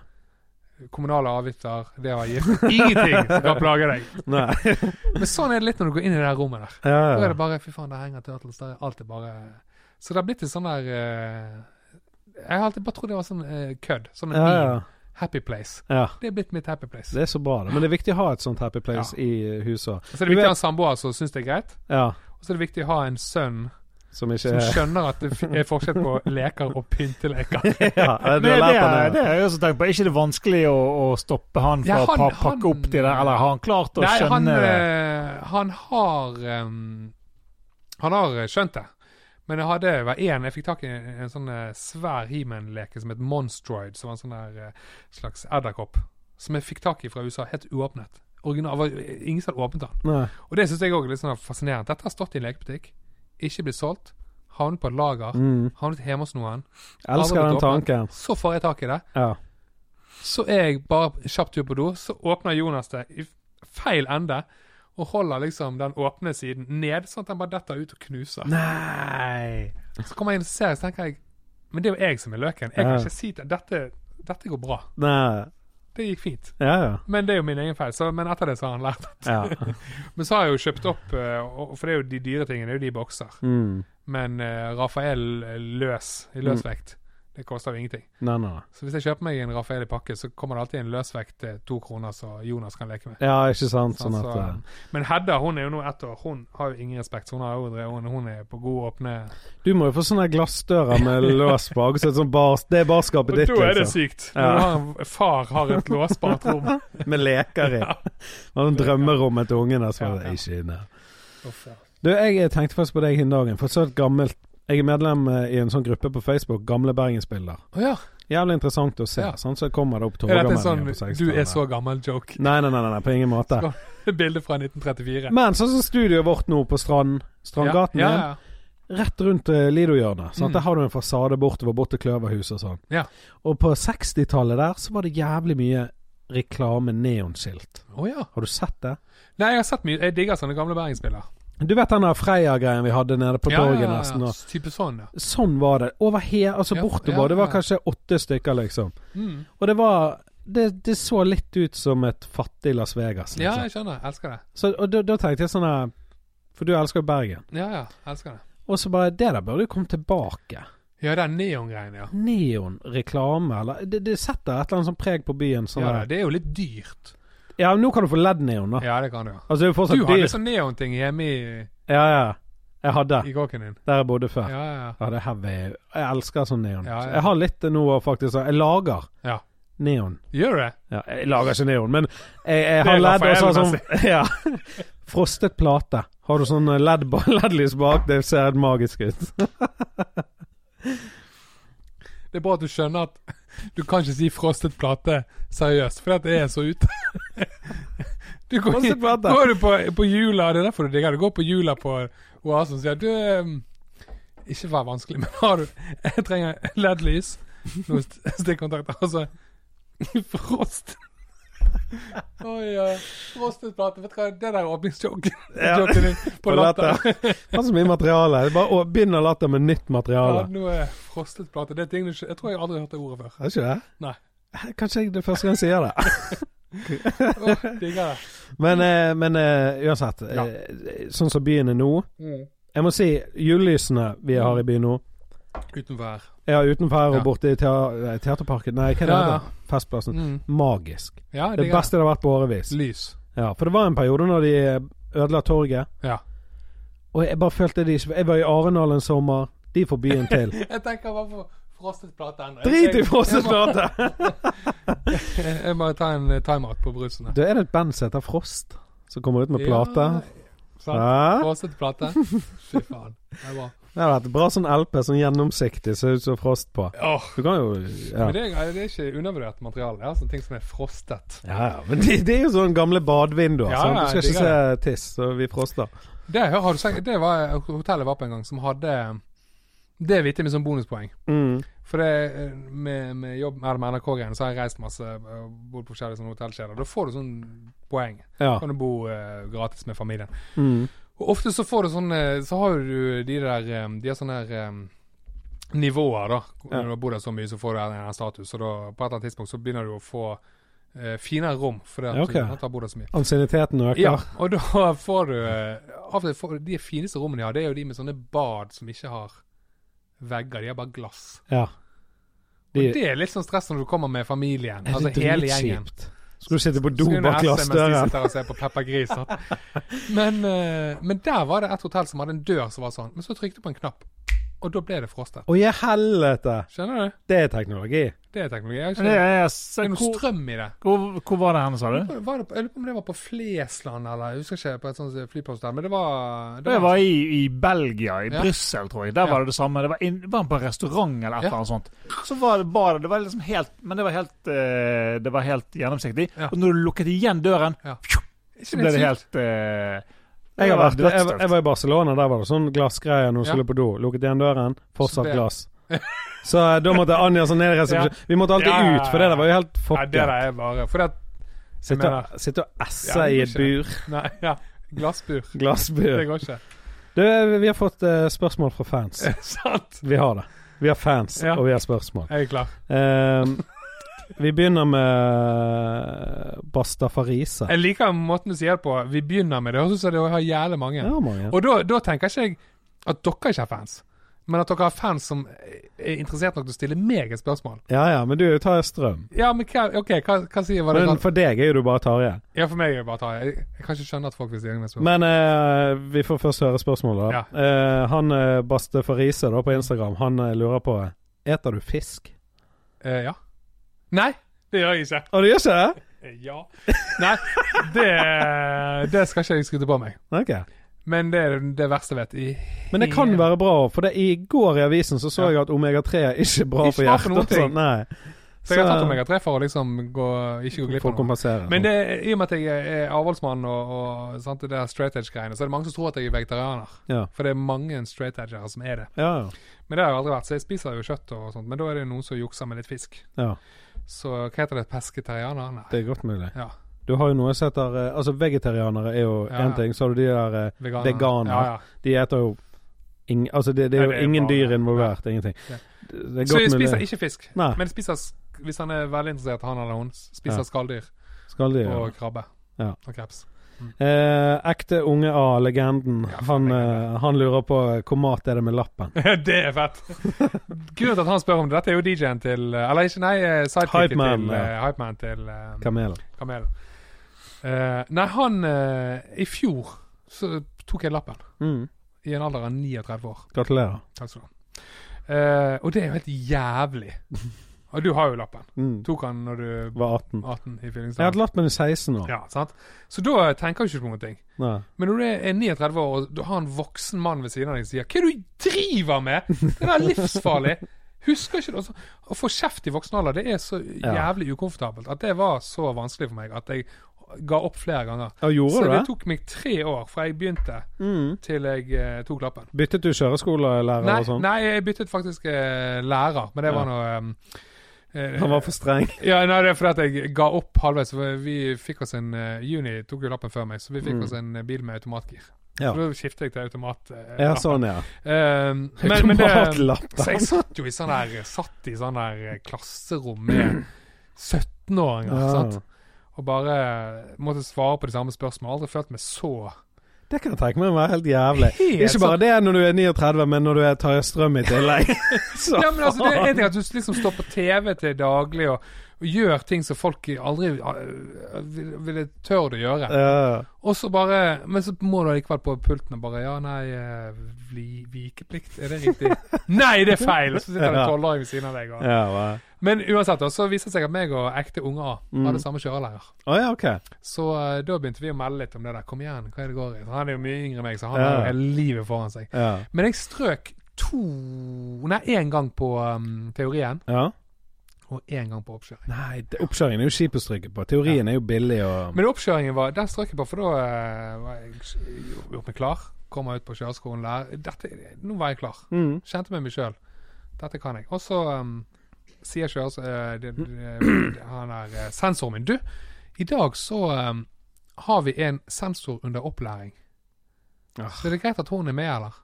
S3: Kommunale avgifter, det var gift. Ingenting som kan plage deg.
S1: Nei.
S3: Men sånn er det litt når du går inn i det her rommet der.
S1: Ja,
S3: Da er
S1: ja.
S3: det bare Fy faen, der henger Turtles. Der er alt er bare Så det har blitt en sånn der eh, Jeg har alltid bare trodd det var sånn eh, kødd. Sånn en
S1: Ja, ja.
S3: meme. Happy place.
S1: ja.
S3: Det er blitt mitt happy place.
S1: Det er så bra, det. Men det er viktig å ha et sånt happy place i huset. også.
S3: Så er
S1: Du
S3: det viktig
S1: vet-
S3: å ha en samboer som syns det er greit.
S1: Ja,
S3: Og så er det viktig å ha en sønn
S1: som ikke
S3: som skjønner at det f- er forskjell på leker og pynteleker.
S1: ja,
S2: Det,
S1: du
S2: det,
S1: har lært han
S2: er-
S1: det.
S2: det har jeg også tenkt på. Er ikke det vanskelig å, å stoppe han fra
S3: Ja,
S2: å
S3: han-
S2: pa- pakke
S3: han-
S2: opp de der, eller har han klart å
S3: Nei,
S2: skjønne
S3: han,
S2: det?
S3: eh, han har ehm, Han har skjønt det. Men jeg hadde det var en, jeg fikk tak i en, en sånn eh, svær He-Man-leke som het Monstroid, som var en sånn der eh, slags edderkopp. Som jeg fikk tak i fra USA, helt uåpnet. Original, var, eh, ingen som hadde åpnet den.
S1: Nei.
S3: Og det syns jeg òg er litt sånn fascinerende. Dette har stått i en lekebutikk, ikke blitt solgt. Havnet på et lager,
S1: Mm.
S3: havnet hjemme hos noen.
S1: Elsker
S3: aldri
S1: den
S3: blitt åpnet.
S1: tanken.
S3: Så får jeg tak i det.
S1: Ja.
S3: Så er jeg bare kjapt tur på do, så åpner Jonas det i feil ende. Og holder liksom den åpne siden ned, sånn at den bare detter ut og knuser.
S1: Nei
S3: Så kommer jeg inn og ser, så tenker jeg Men det er jo jeg som er løken. Jeg
S1: Ja.
S3: kan ikke si til dette, dette går bra.
S1: Nei.
S3: Det gikk fint.
S1: Ja, ja.
S3: Men det er jo min egen feil. Så, men etter det så har han lært.
S1: ja.
S3: Men så har jeg jo kjøpt opp eh, og, For det er jo de dyre tingene, det er jo de i bokser.
S1: Mm.
S3: Men eh, Rafael eh, løs, i løsvekt. Det koster jo ingenting.
S1: Nei, nei, nei.
S3: Så hvis jeg kjøper meg en Rafael i pakke, så kommer det alltid en løsvekt til to kroner så Jonas kan leke med.
S1: Ja, ikke sant? Sånn
S3: Så-
S1: at eh,
S3: Altså, Men Hedda hun er jo nå ett år, hun har jo ingen respekt. Så hun, har jo, drevet- hun, hun er på god åpne
S1: Du må jo få sånne glassdører med lås bak. Så det, er sånn bar, det er barskapet ditt,
S3: Og da er det
S1: liksom.
S3: sykt!
S1: Ja.
S3: Når du har en, far har et låsbart rom.
S1: Med leker i. Og sånn drømmerommet til ungene. Så er det ikke inne.
S3: Uff, ja.
S1: Du, jeg tenkte faktisk på deg den dagen. For så et gammelt Jeg er medlem eh, i en sånn gruppe på Facebook, Gamle Bergensbilder.
S3: Å ja.
S1: Jævlig interessant å se.
S3: Ja.
S1: Sånn, så kommer det opp
S3: Er dette en sånn
S1: tåremeldinger på 60
S3: du er så gammel-joke?
S1: Nei, nei, nei, nei, nei, på ingen måte.
S3: Skal- Bilde fra 1934.
S1: Men sånn som studioet vårt nå på Strand, Strandgaten
S3: ja,
S1: igjen.
S3: ja,
S1: rett rundt eh, Lido-hjørnet. sant?
S3: Mm.
S1: Der har du en fasade bortover bort til Kløverhuset og sånn.
S3: Ja.
S1: Og på 60-tallet der så var det jævlig mye reklame neonskilt.
S3: ja. Å ja.
S1: Har du sett det?
S3: Nei, jeg har sett mye. Jeg digger sånne gamle bergensbiler.
S1: Du vet den der Freia-greien vi hadde nede på torget nesten? Og
S3: Type sånn, ja.
S1: sånn var det. Over he, altså
S3: Ja,
S1: bortover.
S3: ja,
S1: Det var
S3: ja.
S1: kanskje åtte stykker, liksom.
S3: Mm.
S1: Og det var det, det så litt ut som et fattig Las Vegas.
S3: Ja,
S1: Liksom.
S3: jeg skjønner. jeg Elsker det.
S1: Så, og da, da tenkte jeg sånn her For du elsker jo Bergen.
S3: Ja, ja. jeg Elsker det.
S1: Og så bare Det der burde jo komme tilbake.
S3: Ja, den neongreien, ja.
S1: neonreklame, eller det, det setter et eller annet sånt preg på byen. Sånn
S3: ja
S1: ja,
S3: da, det er jo litt dyrt.
S1: ja, men nå kan du få LED-neon, da.
S3: Ja, det kan du, ja.
S1: Altså, det er jo
S3: Du
S1: fortsatt
S3: hadde
S1: dyrt.
S3: sånn neonting hjemme i,
S1: Ja, ja. Jeg hadde,
S3: i kåken din.
S1: der jeg bodde før. Ja,
S3: Ja, ja.
S1: det er heavy. Jeg elsker sånn neon.
S3: Ja, ja.
S1: Jeg har litt nå òg, faktisk. så Jeg lager
S3: Ja.
S1: neon.
S3: Gjør du det?
S1: Ja, jeg lager ikke neon, men jeg, jeg
S3: Det
S1: har
S3: er
S1: LED og så har sånn ja. Frostet plate. Har du sånn LED-lys bak? Det ser helt magisk ut.
S3: Det er bra at du skjønner at du kan ikke si frostet plate seriøst, fordi at det er så ute. Du går,
S1: Frosted plate.
S3: går du på, på jula, det er derfor du digger det. Du går på jula på Oasen og sier du ehm, Ikke vær vanskelig, men har du Jeg trenger LED-lys, noen st- stikkontakter, og så frost. Oi, ja. Frostet plate. Vet du hva, det der er åpningsjoken
S1: Ja.
S3: joken din på
S1: På latter.
S3: latter.
S1: Det er så mye materiale. Det er bare å begynne latter med nytt
S3: Ja,
S1: materiale.
S3: nå er frostet plate. Det er ting du ikke Jeg tror jeg aldri har hørt det ordet før.
S1: Er det ikke det?
S3: Nei.
S1: Kanskje jeg det er første gang jeg sier det.
S3: Åh, digger det.
S1: Men, eh, men eh, uansett, eh,
S3: Ja.
S1: sånn som byen er nå
S3: Mm.
S1: Jeg må si julelysene vi har i byen nå
S3: Utenfor her.
S1: Ja, utenfor her og
S3: Ja.
S1: borte i tea- eh, Teaterparken Nei, hva er det
S3: Ja, ja.
S1: heter? Festplassen. Magisk.
S3: Ja,
S1: Mm. Det
S3: digger
S1: beste det har vært på årevis.
S3: Lys.
S1: Ja, for det var en periode når de eh, ødela torget,
S3: Ja.
S1: og jeg bare følte de ikke Jeg var i Arendal en sommer. De får byen til.
S3: Jeg tenker bare på frostet plate ennå.
S1: Drit i
S3: Jeg-
S1: Frosset plate!
S3: Jeg, jeg må ta en eh, timeout på brusene.
S1: Da er det et band som heter Frost, som kommer ut med plate.
S3: sant.
S1: Ja.
S3: Frostet plate. Fy faen. Det er bra.
S1: Det har vært et bra sånn LP, sånn gjennomsiktig, ser ut som Frost på.
S3: Åh.
S1: Du kan jo ja.
S3: Men det er, det er ikke undervurdert materiale. Det er altså ting som er frostet.
S1: Ja, ja, men det, det er jo sånne gamle badevinduer.
S3: Ja,
S1: sant?
S3: ja,
S1: Du skal ikke
S3: digger
S1: se tiss, så vi froster.
S3: Det, har har du sagt, det var hotellet var på en gang, som hadde eh, Det vet jeg med som bonuspoeng.
S1: Mm.
S3: For det, eh, med, med jobb med med NRK-greiene så har jeg reist masse, eh, bodd på forskjellige sånne hotellkjeder. Da får du sånn poeng.
S1: Ja.
S3: Kan du bo eh, gratis med familien.
S1: Mm.
S3: Og ofte så får du sånn eh, Så har du de der eh, De har sånne der eh, nivåer, da.
S1: Ja.
S3: Når du har bodd der så mye, så får du en eller annen status. Og da, på et eller annet tidspunkt så begynner du å få eh, finere rom, fordi at
S1: Ja, ok.
S3: du har bodd der så mye.
S1: Ansienniteten øker.
S3: Ja, og da får du eh, Av og til får du De fineste rommene de har, det er jo de med sånne bad som ikke har vegger, de har bare glass.
S1: Ja. De-
S3: og det er litt sånn stress når du kommer med familien.
S1: Er
S3: Altså
S1: det
S3: hele gjengen.
S1: dritkjipt? Skal du sitte på do
S3: Skulle
S1: bak
S3: jeg se mens de
S1: glassdøren?
S3: sitter og ser på Peppa Gris. sant? Men, eh, men der var det et hotell som hadde en dør som var sånn. Men så trykte du på en knapp, og da ble det frostet.
S1: Å, i helvete!
S3: Skjønner du?
S1: Det er teknologi.
S3: Det er teknologi. Jeg har
S2: Det
S3: ikke,
S2: er,
S3: det er noe
S2: hvor,
S3: strøm i det.
S2: hvor, hvor var det henne, sa du?
S3: Var det, jeg lurer på om det var på Flesland, eller jeg husker ikke, på et sånt flyplass der. Men det var,
S2: Det var i, i Belgia, i
S3: Ja.
S2: Brussel, tror jeg. Der var
S3: Ja.
S2: det det samme. Det var, inn, var han på restaurant eller et
S3: Ja.
S2: eller annet sånt. Så var det bare Det var liksom helt Men det var helt, eh, det var helt gjennomsiktig.
S3: Ja.
S2: Og når du lukket igjen døren,
S3: Ja.
S2: pju, så ble det helt eh, det
S1: Jeg, har
S2: var
S1: vært, jeg,
S2: dødsdøvt.
S1: jeg var i Barcelona, der var det sånn glassgreier når du
S3: Ja.
S1: skulle på do. Lukket igjen døren,
S3: Så
S1: fortsatt
S3: ble-
S1: glass. Så eh, da måtte Anja sånn ned i resepsjonen. Vi måtte alltid
S3: Ja, ja, ja.
S1: ut, for det der var jo helt
S3: Nei, det der
S1: fucket.
S3: er bare Fordi at
S1: Sitte og- sitte og esse
S3: Ja,
S1: i
S3: det
S1: et
S3: går ikke.
S1: bur.
S3: Nei, ja. Glassbur. Det
S1: Glassbur.
S3: går ikke.
S1: Du, vi har fått eh, spørsmål fra fans.
S3: Sant.
S1: Vi har det. Vi har fans,
S3: Ja.
S1: og vi har spørsmål.
S3: Jeg er klar.
S1: Ehm, vi begynner eh, med Bastafarise.
S3: Jeg liker måten du sier det på. Vi begynner med det. Jeg synes jeg har jævlig mange.
S1: Ja, mange.
S3: Og da, da tenker ikke jeg at dere ikke er fans, men at dere er fans som eh, er interessert nok til å stille meg et spørsmål.
S1: Ja ja, men du tar strøm.
S3: Ja, men hva, ok, hva, hva sier var det
S1: Men
S3: rart?
S1: for deg er jo du bare Tarjei.
S3: Ja, for meg er det bare å ta jeg, jeg kan ikke skjønne at folk vil stille meg et spørsmål.
S1: Men eh, vi får først høre spørsmålet. da. Eh, han eh, Baste Farise da, på Instagram han eh, lurer på Eter du fisk.
S3: Eh, ja. Nei, det gjør jeg ikke.
S1: Å, du gjør ikke det?
S3: Eh, Ja. Nei, det, det skal ikke jeg skryte på meg.
S1: Ok.
S3: Men det er det verste jeg vet. I
S1: Men det kan være bra, for det, i går i avisen så så
S3: Ja.
S1: jeg at omega-3 er ikke bra
S3: Ikke
S1: for
S3: bra
S1: hjertet.
S3: for noen
S1: og sånn.
S3: ting.
S1: Nei.
S3: Så jeg har tatt omega-3 for å liksom gå, ikke gå glipp
S1: for å
S3: av noe.
S1: kompensere.
S3: Men det, er- i og med at jeg er avholdsmann og, og sant, det der straight edge-greiene, så er det mange som tror at jeg er vegetarianer.
S1: Ja.
S3: For det er mange straight edgere som er det.
S1: Ja, ja.
S3: Men det har jeg aldri vært, så jeg spiser jo kjøtt og sånt. Men da er det noen som jukser med litt fisk.
S1: Ja.
S3: Så hva heter det? Pesketarianer? Nei.
S1: Det er godt mulig.
S3: Ja.
S1: Du har jo noe som heter eh, Altså, vegetarianere er jo
S3: Ja,
S1: én
S3: ja.
S1: ting. Så har du de der eh,
S3: Veganer.
S1: Veganer.
S3: Ja, ja.
S1: De eter jo ing, Altså, det, det
S3: Nei,
S1: er jo
S3: det er
S1: ingen
S3: bare-
S1: dyr involvert. Ingenting.
S3: Ja.
S1: Det det er
S3: Så jeg
S1: godt
S3: spiser
S1: mulig.
S3: ikke fisk.
S1: Nei.
S3: Men jeg spiser, sk- hvis han er veldig interessert, han eller hun,
S1: Ja.
S3: spiser skalldyr
S1: Skalldyr. ja.
S3: og krabbe.
S1: Ja.
S3: Og kreps.
S1: Eh, ekte unge A, legenden.
S3: Ja,
S1: han, eh,
S3: legenden.
S1: han lurer på eh, hvor mat er det med lappen.
S3: det er fett! Grunnen til at han spør om det, dette er jo DJ-en til eh, Eller ikke, nei, eh, sidekicken
S1: Hypeman,
S3: til
S1: ja.
S3: eh, Hypeman til eh,
S1: Kamelen.
S3: Kamel. Eh, nei, han eh, I fjor så tok jeg lappen.
S1: Mm.
S3: I en alder av 39 år.
S1: Gratulerer.
S3: Takk skal du ha. Eh, og det er jo helt jævlig. Og du har jo lappen.
S1: Mm.
S3: Tok han når du var
S1: Var 18.
S3: 18 i
S1: Jeg hadde
S3: fyllingsdagen?
S1: lappen i 16 år.
S3: Ja, sant? Så da tenker du ikke på noen ting.
S1: Nei.
S3: Men når du er 39 år og du har en voksen mann ved siden av deg som sier 'Hva er det du driver med?!' Det er livsfarlig! Husker ikke det. Altså, Å få kjeft i voksen alder, det er så
S1: Ja.
S3: jævlig ukomfortabelt. At det var så vanskelig for meg at jeg ga opp flere ganger.
S1: Ja,
S3: så
S1: gjorde du
S3: det
S1: det?
S3: tok meg tre år fra jeg begynte
S1: Mm.
S3: til jeg eh, tok lappen.
S1: Byttet du kjøreskolelærer
S3: Nei,
S1: og sånn?
S3: nei, jeg byttet faktisk eh, lærer, men det
S1: Ja.
S3: var noe eh, eh,
S1: Han var for streng.
S3: ja, nei, det er fordi at jeg ga opp halvveis. for Vi fikk oss en eh, Juni tok jo lappen før meg, så vi fikk
S1: Mm.
S3: oss en eh, bil med automatgir.
S1: Ja.
S3: Så da skiftet jeg til automat. eh,
S1: Ja,
S3: lappen.
S1: sånn, ja.
S3: Eh, men, men det, så jeg
S1: Automatlappen.
S3: satt jo i sånn der Satt i sånn der eh, klasserom med 17-åringer,
S1: Ja.
S3: sant. Og bare måtte svare på de samme spørsmålene. Aldri følt meg så
S1: Det kan jeg tenke meg å være helt jævlig.
S3: Helt
S1: Ikke bare det når du er 39, men når du er Tarjei Strøm i tillegg. Så
S3: Ja, men altså, det er en ting at du liksom står på TV til daglig og, og gjør ting som folk aldri eh, ville ville tørt å gjøre.
S1: Ja.
S3: Og så bare Men så må du likevel på pulten og bare Ja, nei, eh, vi, vikeplikt, er det riktig? nei, det er feil! Og så sitter det
S1: Ja.
S3: en tolvåring ved siden av deg. Og.
S1: Ja, hva?
S3: Men uansett, da, så viser det seg at meg og ekte unge A
S1: Mm.
S3: hadde samme kjørelærer.
S1: Å ja, ok.
S3: Så eh, da begynte vi å melde litt om det der. Kom igjen, hva er det går i? Så Han er jo mye yngre enn meg, så han
S1: Ja.
S3: har jo hele livet foran seg.
S1: Ja.
S3: Men jeg strøk to Nei, én gang på um, teorien.
S1: ja.
S3: og én gang på oppkjøring.
S1: Nei, det- oppkjøringen er jo kjip å stryke på. Teorien er jo billig og
S3: Men oppkjøringen var Der strøk jeg på, for da eh, var jeg gj- gjort meg klar. Kommer ut på kjøreskolen, lærer Dette, Nå var jeg klar.
S1: mm.
S3: Kjente med meg sjøl. Dette kan jeg. Og så um, sier kjøres... eh, det-
S1: Mm.
S3: det- han der eh, sensoren min Du, i dag så um, har vi en sensor under opplæring.
S1: Ah.
S3: Så er det greit at hun er med, eller?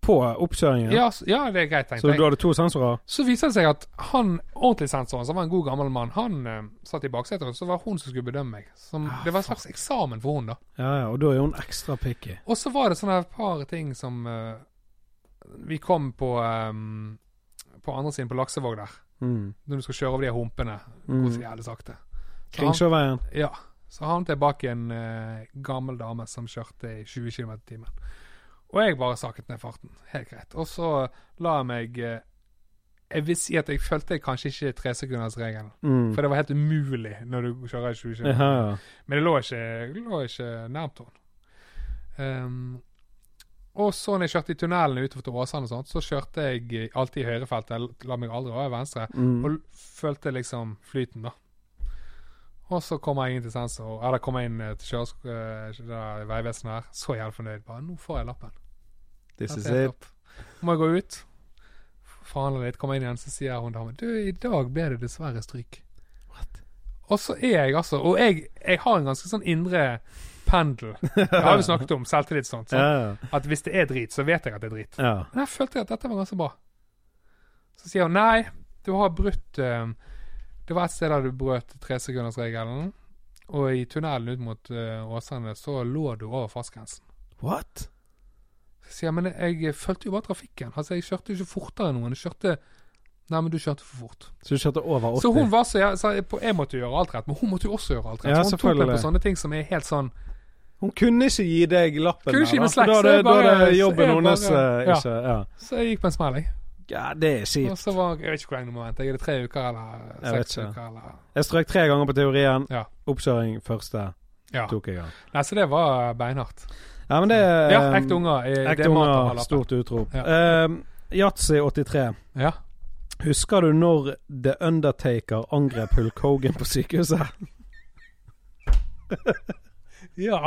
S1: På oppkjøringen?
S3: Ja, s- ja det er greit, tenkte
S1: Så
S3: jeg.
S1: du hadde to sensorer?
S3: Så viser det seg at han ordentlig sensoren, som var en god gammel mann, han eh, satt i baksetet, og så var hun som skulle bedømme meg. Som, det var en slags eksamen for hun da.
S1: Ja, ja, og da er hun ekstra picky.
S3: Og så var det sånne her par ting som eh, Vi kom på eh, På andre siden på Laksevåg der.
S1: Mm.
S3: Når du skal kjøre over de her humpene.
S1: Mm.
S3: Gå så jævlig sakte. Så han-
S1: Kringsjøveien.
S3: Ja. Så havnet jeg bak en eh, gammel dame som kjørte i 20 km i timen. Og jeg bare saket ned farten. Helt greit. Og så la jeg meg eh, Jeg vil si at jeg følte kanskje ikke tresekundersregelen.
S1: Mm.
S3: For det var helt umulig når du kjører i 20 km.
S1: Ja, ja.
S3: Men jeg lå ikke, jeg lå ikke nærmt henne. Ehm, og så når jeg kjørte i tunnelene utenfor til Åsane, og sånt, så kjørte jeg eh, alltid i høyrefeltet. Jeg La meg aldri være i venstre. Og
S1: Mm.
S3: l- følte liksom flyten, da. Og så kommer jeg inn til sensor, eller kommer jeg inn eh, til kjøresk- eh, det der Vegvesenet her, så jævlig fornøyd. Bare 'Nå får jeg lappen'.
S1: This is
S3: Dette er
S1: it.
S3: topp. Må jeg gå ut, forhandle litt, komme inn igjen, så sier hun damen 'Du, i dag ble det dessverre stryk'. Og så er jeg altså Og jeg, jeg har en ganske sånn indre pendel. Det har vi snakket om, selvtillit sånt.
S1: Ja,
S3: sånn,
S1: ja.
S3: At hvis det er drit, så vet jeg at det er drit.
S1: ja.
S3: Men jeg følte at dette var ganske bra. Så sier hun nei, du har brutt eh, Det var et sted der du brøt tresekundersregelen. Og i tunnelen ut mot eh, Åsane så lå du over fartsgrensen.
S1: What?
S3: sier jeg, men jeg fulgte jo bare trafikken. Altså, jeg kjørte jo ikke fortere enn noen. Jeg kjørte Nei, men du kjørte for fort.
S1: Så du kjørte over 80?
S3: Så hun var så jeg, så jeg, på- jeg måtte jo gjøre alt rett, men hun måtte jo også gjøre alt
S1: Ja,
S3: rett. så hun tok meg
S1: selvfølgelig.
S3: på sånne ting som er helt sånn
S1: Hun kunne ikke gi deg lappen.
S3: Kunne
S1: der,
S3: ikke gi
S1: da,
S3: meg
S1: for
S3: slack,
S1: da
S3: så
S1: er
S3: jeg
S1: det, da er
S3: bare-
S1: det
S3: så
S1: jobben
S3: jeg
S1: hennes
S3: bare-
S1: eh,
S3: ja.
S1: ikke ja.
S3: Så jeg gikk på en smell, jeg.
S1: ja, det er
S3: Og
S1: kjipt.
S3: så var Jeg vet ikke hvor lenge du må vente. Jeg Er det tre uker eller
S1: Jeg vet
S3: seks
S1: ikke.
S3: uker? eller...
S1: Jeg strøk tre ganger på teorien.
S3: Ja.
S1: Oppkjøring første
S3: Ja.
S1: tok jeg av.
S3: Nei, så det var beinhardt.
S1: Ja, men det er
S3: Ja, ekte unger. eh, det
S1: Ehm, Ekte
S3: er mat av
S1: unger.
S3: halvappen.
S1: Stort utrop.
S3: Ja.
S1: Ehm, Yatzy83.
S3: Ja.
S1: Husker du når The Undertaker angrep Hulk Hogan på sykehuset?
S3: ja.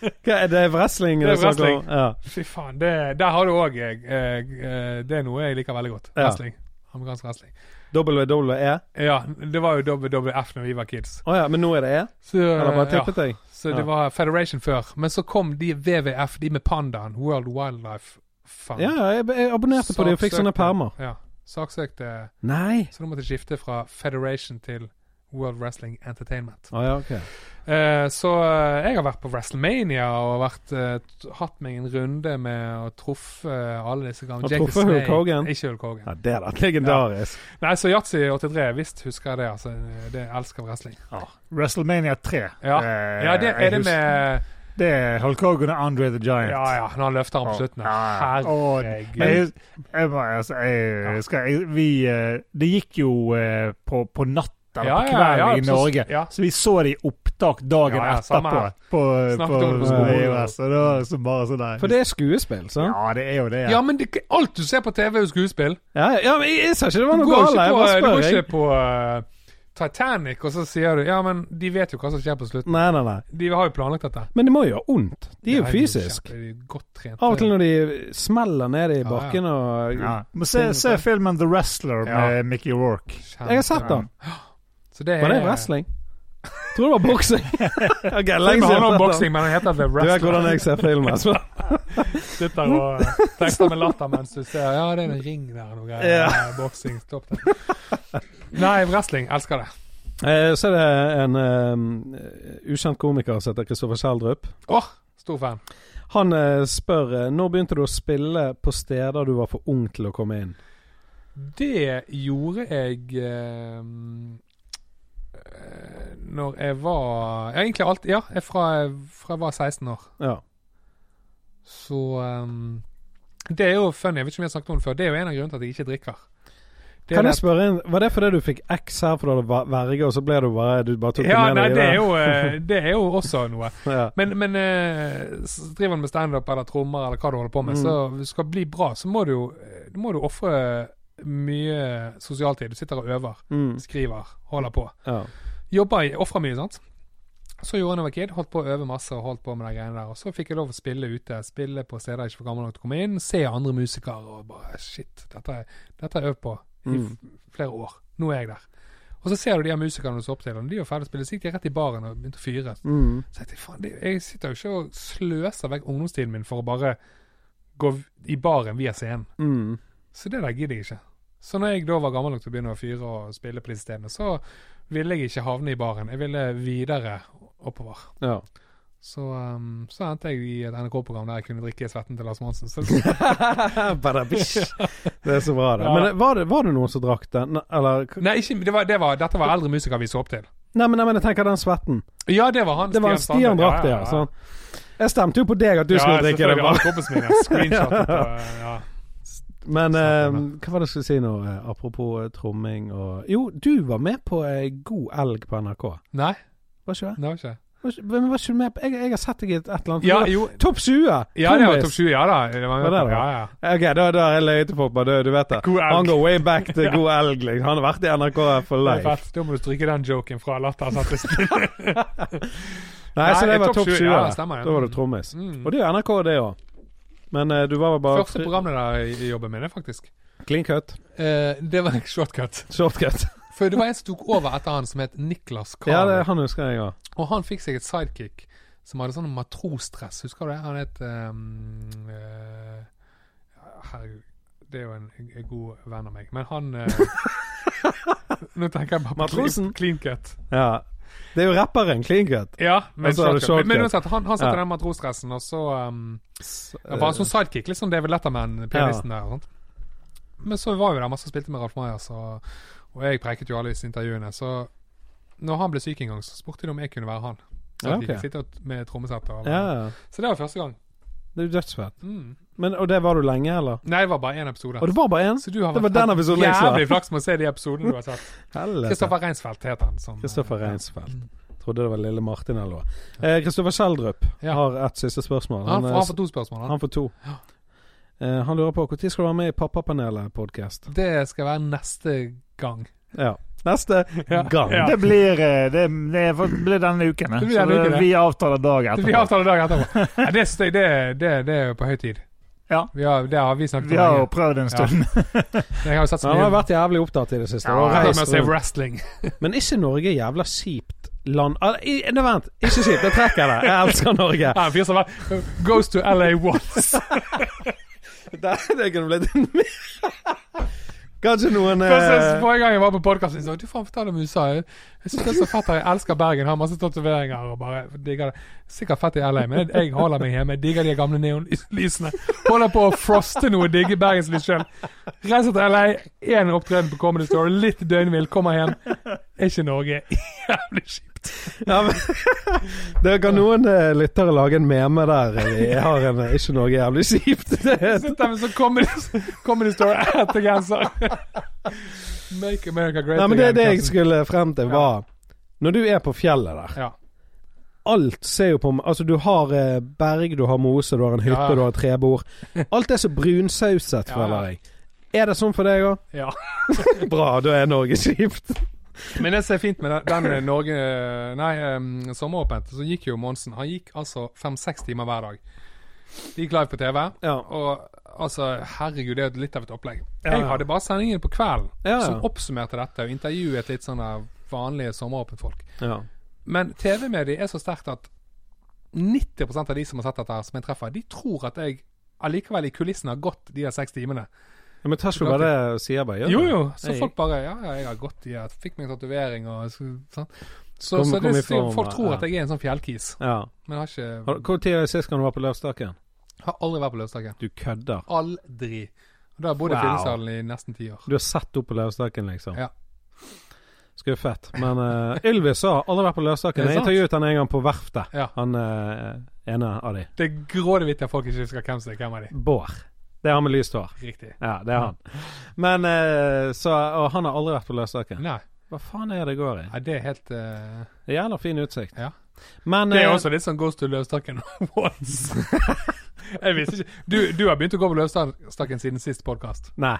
S1: Hva, er det wrestling?
S3: Det er
S1: snakker om?
S3: wrestling.
S1: Ja.
S3: Fy faen. Det, der har du òg Det er noe jeg liker veldig godt.
S1: Ja.
S3: Wrestling. Amerikansk wrestling.
S1: WWE?
S3: Ja, det var jo WWF når vi var kids.
S1: E. Å ja, men nå er det E?
S3: Så,
S1: Eller bare
S3: Eh, ja.
S1: tippet jeg?
S3: så
S1: Ja.
S3: det var Federation før. Men så kom de WWF, de med pandaen. World Wildlife Fund.
S1: Ja, jeg, jeg abonnerte på de og fikk sånne
S3: Saksøkte-
S1: permer.
S3: Ja. Saksøkte.
S1: Nei!
S3: Så da måtte jeg skifte fra Federation til World Wrestling Entertainment.
S1: Å ja, ok.
S3: Eh, så eh, jeg har vært på WrestleMania og vært, eh, t- hatt meg en runde med å truffe eh, alle disse gamle
S1: Og
S3: Jake the
S1: truffet Hulk
S3: Snake.
S1: Hogan?
S3: Ikke Hulk Hogan.
S1: Ja, det er da legendarisk.
S3: Nei, så Yatzy83, visst husker jeg det. altså. Det jeg elsker wrestling.
S2: WrestleMania 3.
S3: Ja.
S2: Eh,
S3: Ja, det
S2: jeg
S3: er det
S2: husker-
S3: med
S2: Det er Hulk Hogan og Andre the Giant.
S3: Ja, ja, når han løfter han på
S2: Ja.
S3: slutten.
S2: Ja, ja.
S3: Herregud.
S2: Men jeg, jeg, må- altså, jeg, skal, jeg, vi, eh, det gikk jo eh, på, på natta eller
S3: Ja,
S2: på
S3: ja,
S2: kvelden
S3: ja,
S2: i
S3: så-
S2: Norge.
S3: ja.
S2: Så vi så det i opptak dagen
S3: Ja, ja, samme
S2: etterpå.
S3: her.
S2: På,
S3: Snakket
S2: på,
S3: om det på
S1: skolen.
S2: VHS, og da var det så bare sånn der.
S1: For det er skuespill, sant?
S2: ja, det er jo det.
S3: Ja, men det, alt du ser på TV, er jo skuespill.
S1: Ja, ja, men jeg, jeg sa ikke det var
S3: Du
S1: noe
S3: går
S1: galt.
S3: ikke
S1: Jeg
S3: på,
S1: bare
S3: du går
S1: spør, jeg.
S3: ikke på eh, Titanic, og så sier du Ja, men de vet jo hva som skjer på slutten.
S1: Nei, nei, nei.
S3: De har jo planlagt dette.
S1: Men det må jo gjøre vondt. De er jo fysisk.
S3: kjempe- de er godt trente.
S1: Av og til når de smeller ned i
S3: ja.
S1: bakken og
S2: Ja. Men se, se filmen The Wrestler
S3: Ja.
S2: med Mickey Rourke.
S3: Kjempe-
S1: Jeg har sett den.
S3: Så det er,
S1: Var det wrestling? Jeg tror det var boksing. ok, lenge siden
S3: Det
S1: jeg
S3: handler
S1: har
S3: om
S1: sett
S3: boksing, men den heter The
S1: den. Du vet
S3: Wrestler.
S1: hvordan jeg ser film. Altså.
S3: sitter og eh, tekster med latter mens du ser Ja, det er en ring der og noe greier.
S1: Ja.
S3: Ja, Boksing. Stopp det. Nei, wrestling. Elsker det.
S1: Eh, Så er det en eh, ukjent komiker som heter Kristoffer Kjeldrup.
S3: Åh, stor fan.
S1: Han eh, spør eh, når begynte du å spille på steder du var for ung til å komme inn.
S3: Det gjorde jeg eh, eh, når jeg var ja, Egentlig alt Ja, jeg fra, fra jeg var 16 år.
S1: Ja.
S3: Så ehm, Det er jo funny. Jeg vet ikke om jeg har snakket om det før. Det er jo en av grunnene til at jeg ikke drikker. Det er
S1: Kan
S3: det-
S1: jeg spørre inn, Var det fordi du fikk X her fordi du hadde va- verge, og så ble du bare Du bare tok
S3: ja,
S1: det med
S3: nei,
S1: deg? i
S3: det er,
S1: verden?
S3: jo, eh, det er jo også noe.
S1: Ja.
S3: Men, men eh, s- driver du med standup eller trommer eller hva du holder på med,
S1: Mm.
S3: så hvis du skal bli bra, så må du jo eh, må du ofre mye sosialtid. Du sitter og øver,
S1: Mm,
S3: skriver, holder på.
S1: ja.
S3: Jobber, i- ofrer mye, sant. Så gjorde jeg da jeg var kid, holdt på å øve masse og holdt på med de greiene der. Og så fikk jeg lov å spille ute, spille på steder jeg ikke var gammel nok til å komme inn, se andre musikere og bare shit, dette, er- dette har jeg øvd på i
S1: Mm.
S3: f- flere år. Nå er jeg der. Og så ser du de her musikerne du så opp til, og de er jo ferdig å spille, så gikk de rett i baren og begynte å fyre.
S1: Mm.
S3: Så jeg, tenkte, faen, det, jeg sitter jo ikke og sløser vekk ungdomstiden min for å bare gå v- i baren via scenen.
S1: Mm.
S3: Så det der gidder jeg ikke. Så når jeg da var gammel nok til å begynne å fyre og spille på disse stedene, så ville jeg ikke havne i baren. Jeg ville videre oppover.
S1: ja.
S3: Så, ehm, så endte jeg i et NRK-program der jeg kunne drikke svetten til Lars Monsen. Så,
S1: Badabish. Det er så bra, det.
S3: Ja.
S1: Men eh, var det, var det noen som drakk den? Ne- Eller k-
S3: nei, ikke, det var, det var, dette var eldre musikere vi så opp til.
S1: Nei, men, nei, men jeg tenker den svetten.
S3: Ja, det var han.
S1: Det var en Stian
S3: Sande.
S1: drakk det, ja. Sånn. Jeg stemte jo på deg at du skulle drikke det.
S3: Ja,
S1: Bare.
S3: selvfølgelig. Alle kompisene mine screenshotet på ja.
S1: Men eh,
S3: Stemmer.
S1: hva var det jeg skulle si nå, eh, apropos eh, tromming og Jo, du var med på eh, God elg på NRK.
S3: Nei,
S1: Var ikke det?
S3: det var ikke det.
S1: Var ikke, men var ikke du med på jeg, jeg har sett deg i et, et eller annet
S3: Ja, jo,
S1: Topp 20!
S3: Ja, det var
S1: Trommis!
S3: topp 20, ja da. Det var,
S1: Var det det?
S3: ja, ja.
S1: Ok, da, da har jeg løyet på meg, du, du vet det.
S3: God elg.
S1: Han går way back til god elg. liksom. Han har vært i NRK for
S3: Det er
S1: life.
S3: fett. Da må du stryke den joken fra lattersettelsen.
S1: Nei, så
S3: Nei,
S1: det var topp 20.
S3: ja, stemmer, ja.
S1: Da var du trommis.
S3: Mm.
S1: Og det er jo NRK, det òg. Men eh, du var vel bare
S3: Første programlederjobben min, er faktisk.
S1: Clean cut.
S3: Eh, det var shortcut.
S1: Shortcut.
S3: For det var en som tok over etter han som het Niklas
S1: Ja,
S3: Karl.
S1: det, han husker jeg òg.
S3: og han fikk seg et sidekick som hadde sånn matrosdress. Husker du det? Han het ehm, eh, Herregud. Det er jo en, en god venn av meg. Men han eh, Nå tenker jeg bare på
S1: Matrosen?
S3: clean, clean cut.
S1: Ja. Det er jo rapperen, clean cut.
S3: Ja, men,
S1: Og så Altså, er det
S3: shortcut. Men- men
S1: shortcut.
S3: uansett, han, han setter
S1: Ja.
S3: den matrosdressen, og så um, ja, Bare sånn sidekick, litt sånn David Letterman-pianisten der. og sånt. Men så var jo det masse som spilte med Ralf Majas, og, og jeg preiket jo alle disse intervjuene. Så når han ble syk en gang, så spurte de om jeg kunne være han. Så
S1: Ja,
S3: at vi
S1: ok.
S3: fikk sitte og- med trommesett. og-
S1: Ja, ja.
S3: Så det var første gang.
S1: det er jo dødsfett.
S3: Mm.
S1: Men, og det var du lenge, eller?
S3: Nei, det var bare én episode.
S1: Og det var bare én?
S3: Så du har
S1: Det
S3: vært-
S1: var den episoden jeg så.
S3: jævlig flaks med å se de episodene du har sett.
S1: Helvete.
S3: Kristoffer Reinsfeldt het han. Som,
S1: Kristoffer Reinsfeldt.
S3: Mm.
S1: Trodde det var lille Martin eller noe. Eh, Kristoffer Schjelderup
S3: Ja.
S1: har et siste spørsmål.
S3: Han,
S1: eh,
S3: han får to spørsmål. Han.
S1: han får to. Eh, han lurer på når skal du være med i Pappapanelet-podkast?
S3: Det skal være neste gang.
S1: Ja. Neste gang.
S3: Ja.
S2: Det blir, eh, det, det er for- blir denne uken. eh.
S3: Det blir
S2: Så
S3: denne uken,
S2: det,
S3: ja.
S2: vi avtaler dag
S3: Vi
S2: etterpå.
S3: avtaler dagen etterpå. Ja, det, er støy- det, det, det er jo på høy tid.
S2: Ja.
S3: Vi har, det har vi snakket
S2: Vi
S3: om
S2: har jo
S3: lenge.
S2: prøvd en stund.
S3: Jeg har jo sett så
S1: Han har
S3: mye
S1: vært jævlig opptatt i det siste.
S2: Ja,
S1: og
S3: Jeg har
S1: reist
S3: med å se
S1: rundt.
S3: wrestling.
S1: Men ikke Norge er jævla kjipt land ah, i, Nei, vent. Ikke kjipt. Jeg trekker det. Jeg elsker Norge.
S3: Ja, en fyr som bare Goes to LA once.
S1: Det, det kunne blitt en Kanskje noen eh,
S3: Kanskje Forrige gang jeg var på podkasten, sa jeg, du faen fortell om USA. Jeg syns det er så fett her. Jeg elsker Bergen, har masse tatoveringer og bare digger det. Sikkert fett i LA, men jeg holder meg hjemme. Jeg digger de gamle neonlysene. Holder på å froste noe, digger bergenslys sjøl. Reiser til LA, én opptreden på Comedy Store, litt døgnvill, kommer hjem. Er ikke Norge jævlig kjipt?
S1: Ja, men, det kan noen eh, lyttere lage en meme der. eh, Vi har en eh, Ikke Norge er jævlig kjipt. Det er-
S3: Sitter med sånn Comedy, comedy Store-ettergenser. Make America great
S1: Nei, men det, er
S3: again,
S1: det jeg
S3: Karsten.
S1: skulle frem til, var Når du er på fjellet der
S3: Ja.
S1: Alt ser jo på Altså, du har eh, berg, du har mose, du har en hytte,
S3: Ja.
S1: du har trebord. Alt er så brunsauset,
S3: Ja,
S1: føler
S3: ja.
S1: jeg. Er det sånn for deg òg?
S3: Ja.
S1: Bra, da er Norge kjipt.
S3: Men det som er fint med den, den Norge Nei, um, sommeråpent, så gikk jo Monsen. Han gikk altså fem-seks timer hver dag. Det gikk live på TV.
S1: Ja.
S3: Og altså, herregud, det er jo litt av et opplegg.
S1: Ja,
S3: Jeg
S1: ja.
S3: hadde bare sendingen på kvelden
S1: Ja, ja.
S3: som oppsummerte dette, og intervjuet litt sånne vanlige sommeråpent folk.
S1: Ja.
S3: Men TV-mediet er så sterkt at 90 av de som har sett dette, her som jeg treffer, de tror at jeg allikevel i kulissen har gått de der seks timene.
S1: Ja, men Tersjo bare det sier bare gjør
S3: Jo,
S1: det.
S3: jo. Så
S1: Jeg-
S3: folk bare Ja, ja, jeg har gått i jeg fikk meg en tatovering og så, sånn. Så,
S1: Kom-
S3: så
S1: kom
S3: det,
S1: i form,
S3: folk tror
S1: ja.
S3: at jeg er en sånn fjellkis,
S1: Ja.
S3: men har ikke
S1: Har- Hvor tid er det sist gang du var på Løvstakken?
S3: Har aldri vært på Løvstakken.
S1: Du kødder.
S3: Aldri. Og da har jeg bodd i
S1: Wow.
S3: Fyllingsdalen i nesten ti år.
S1: Du har sett opp på Løvstakken, liksom?
S3: Ja.
S1: Skuffet. Men eh, Ylvis har aldri vært på
S3: Er
S1: Løvstakken.
S3: det
S1: Jeg
S3: sant?
S1: intervjuet han en gang på Verftet.
S3: Ja.
S1: Han eh, ene av de.
S3: Det er grådig at folk ikke husker hvem som er hvem av de.
S1: Bård. Det er han med lyst hår.
S3: Riktig.
S1: Ja, det er han. Men eh, så Og han har aldri vært på Løvstakken.
S3: Nei,
S1: Hva faen er det går i?
S3: nei, det er helt eh,
S1: Det er Jævla fin utsikt.
S3: Ja.
S1: Men
S3: Det er
S1: eh,
S3: også litt sånn Goes to Løvstakken once. jeg visste ikke du, du har begynt å gå på Løvstakken siden sist podkast.
S1: Nei.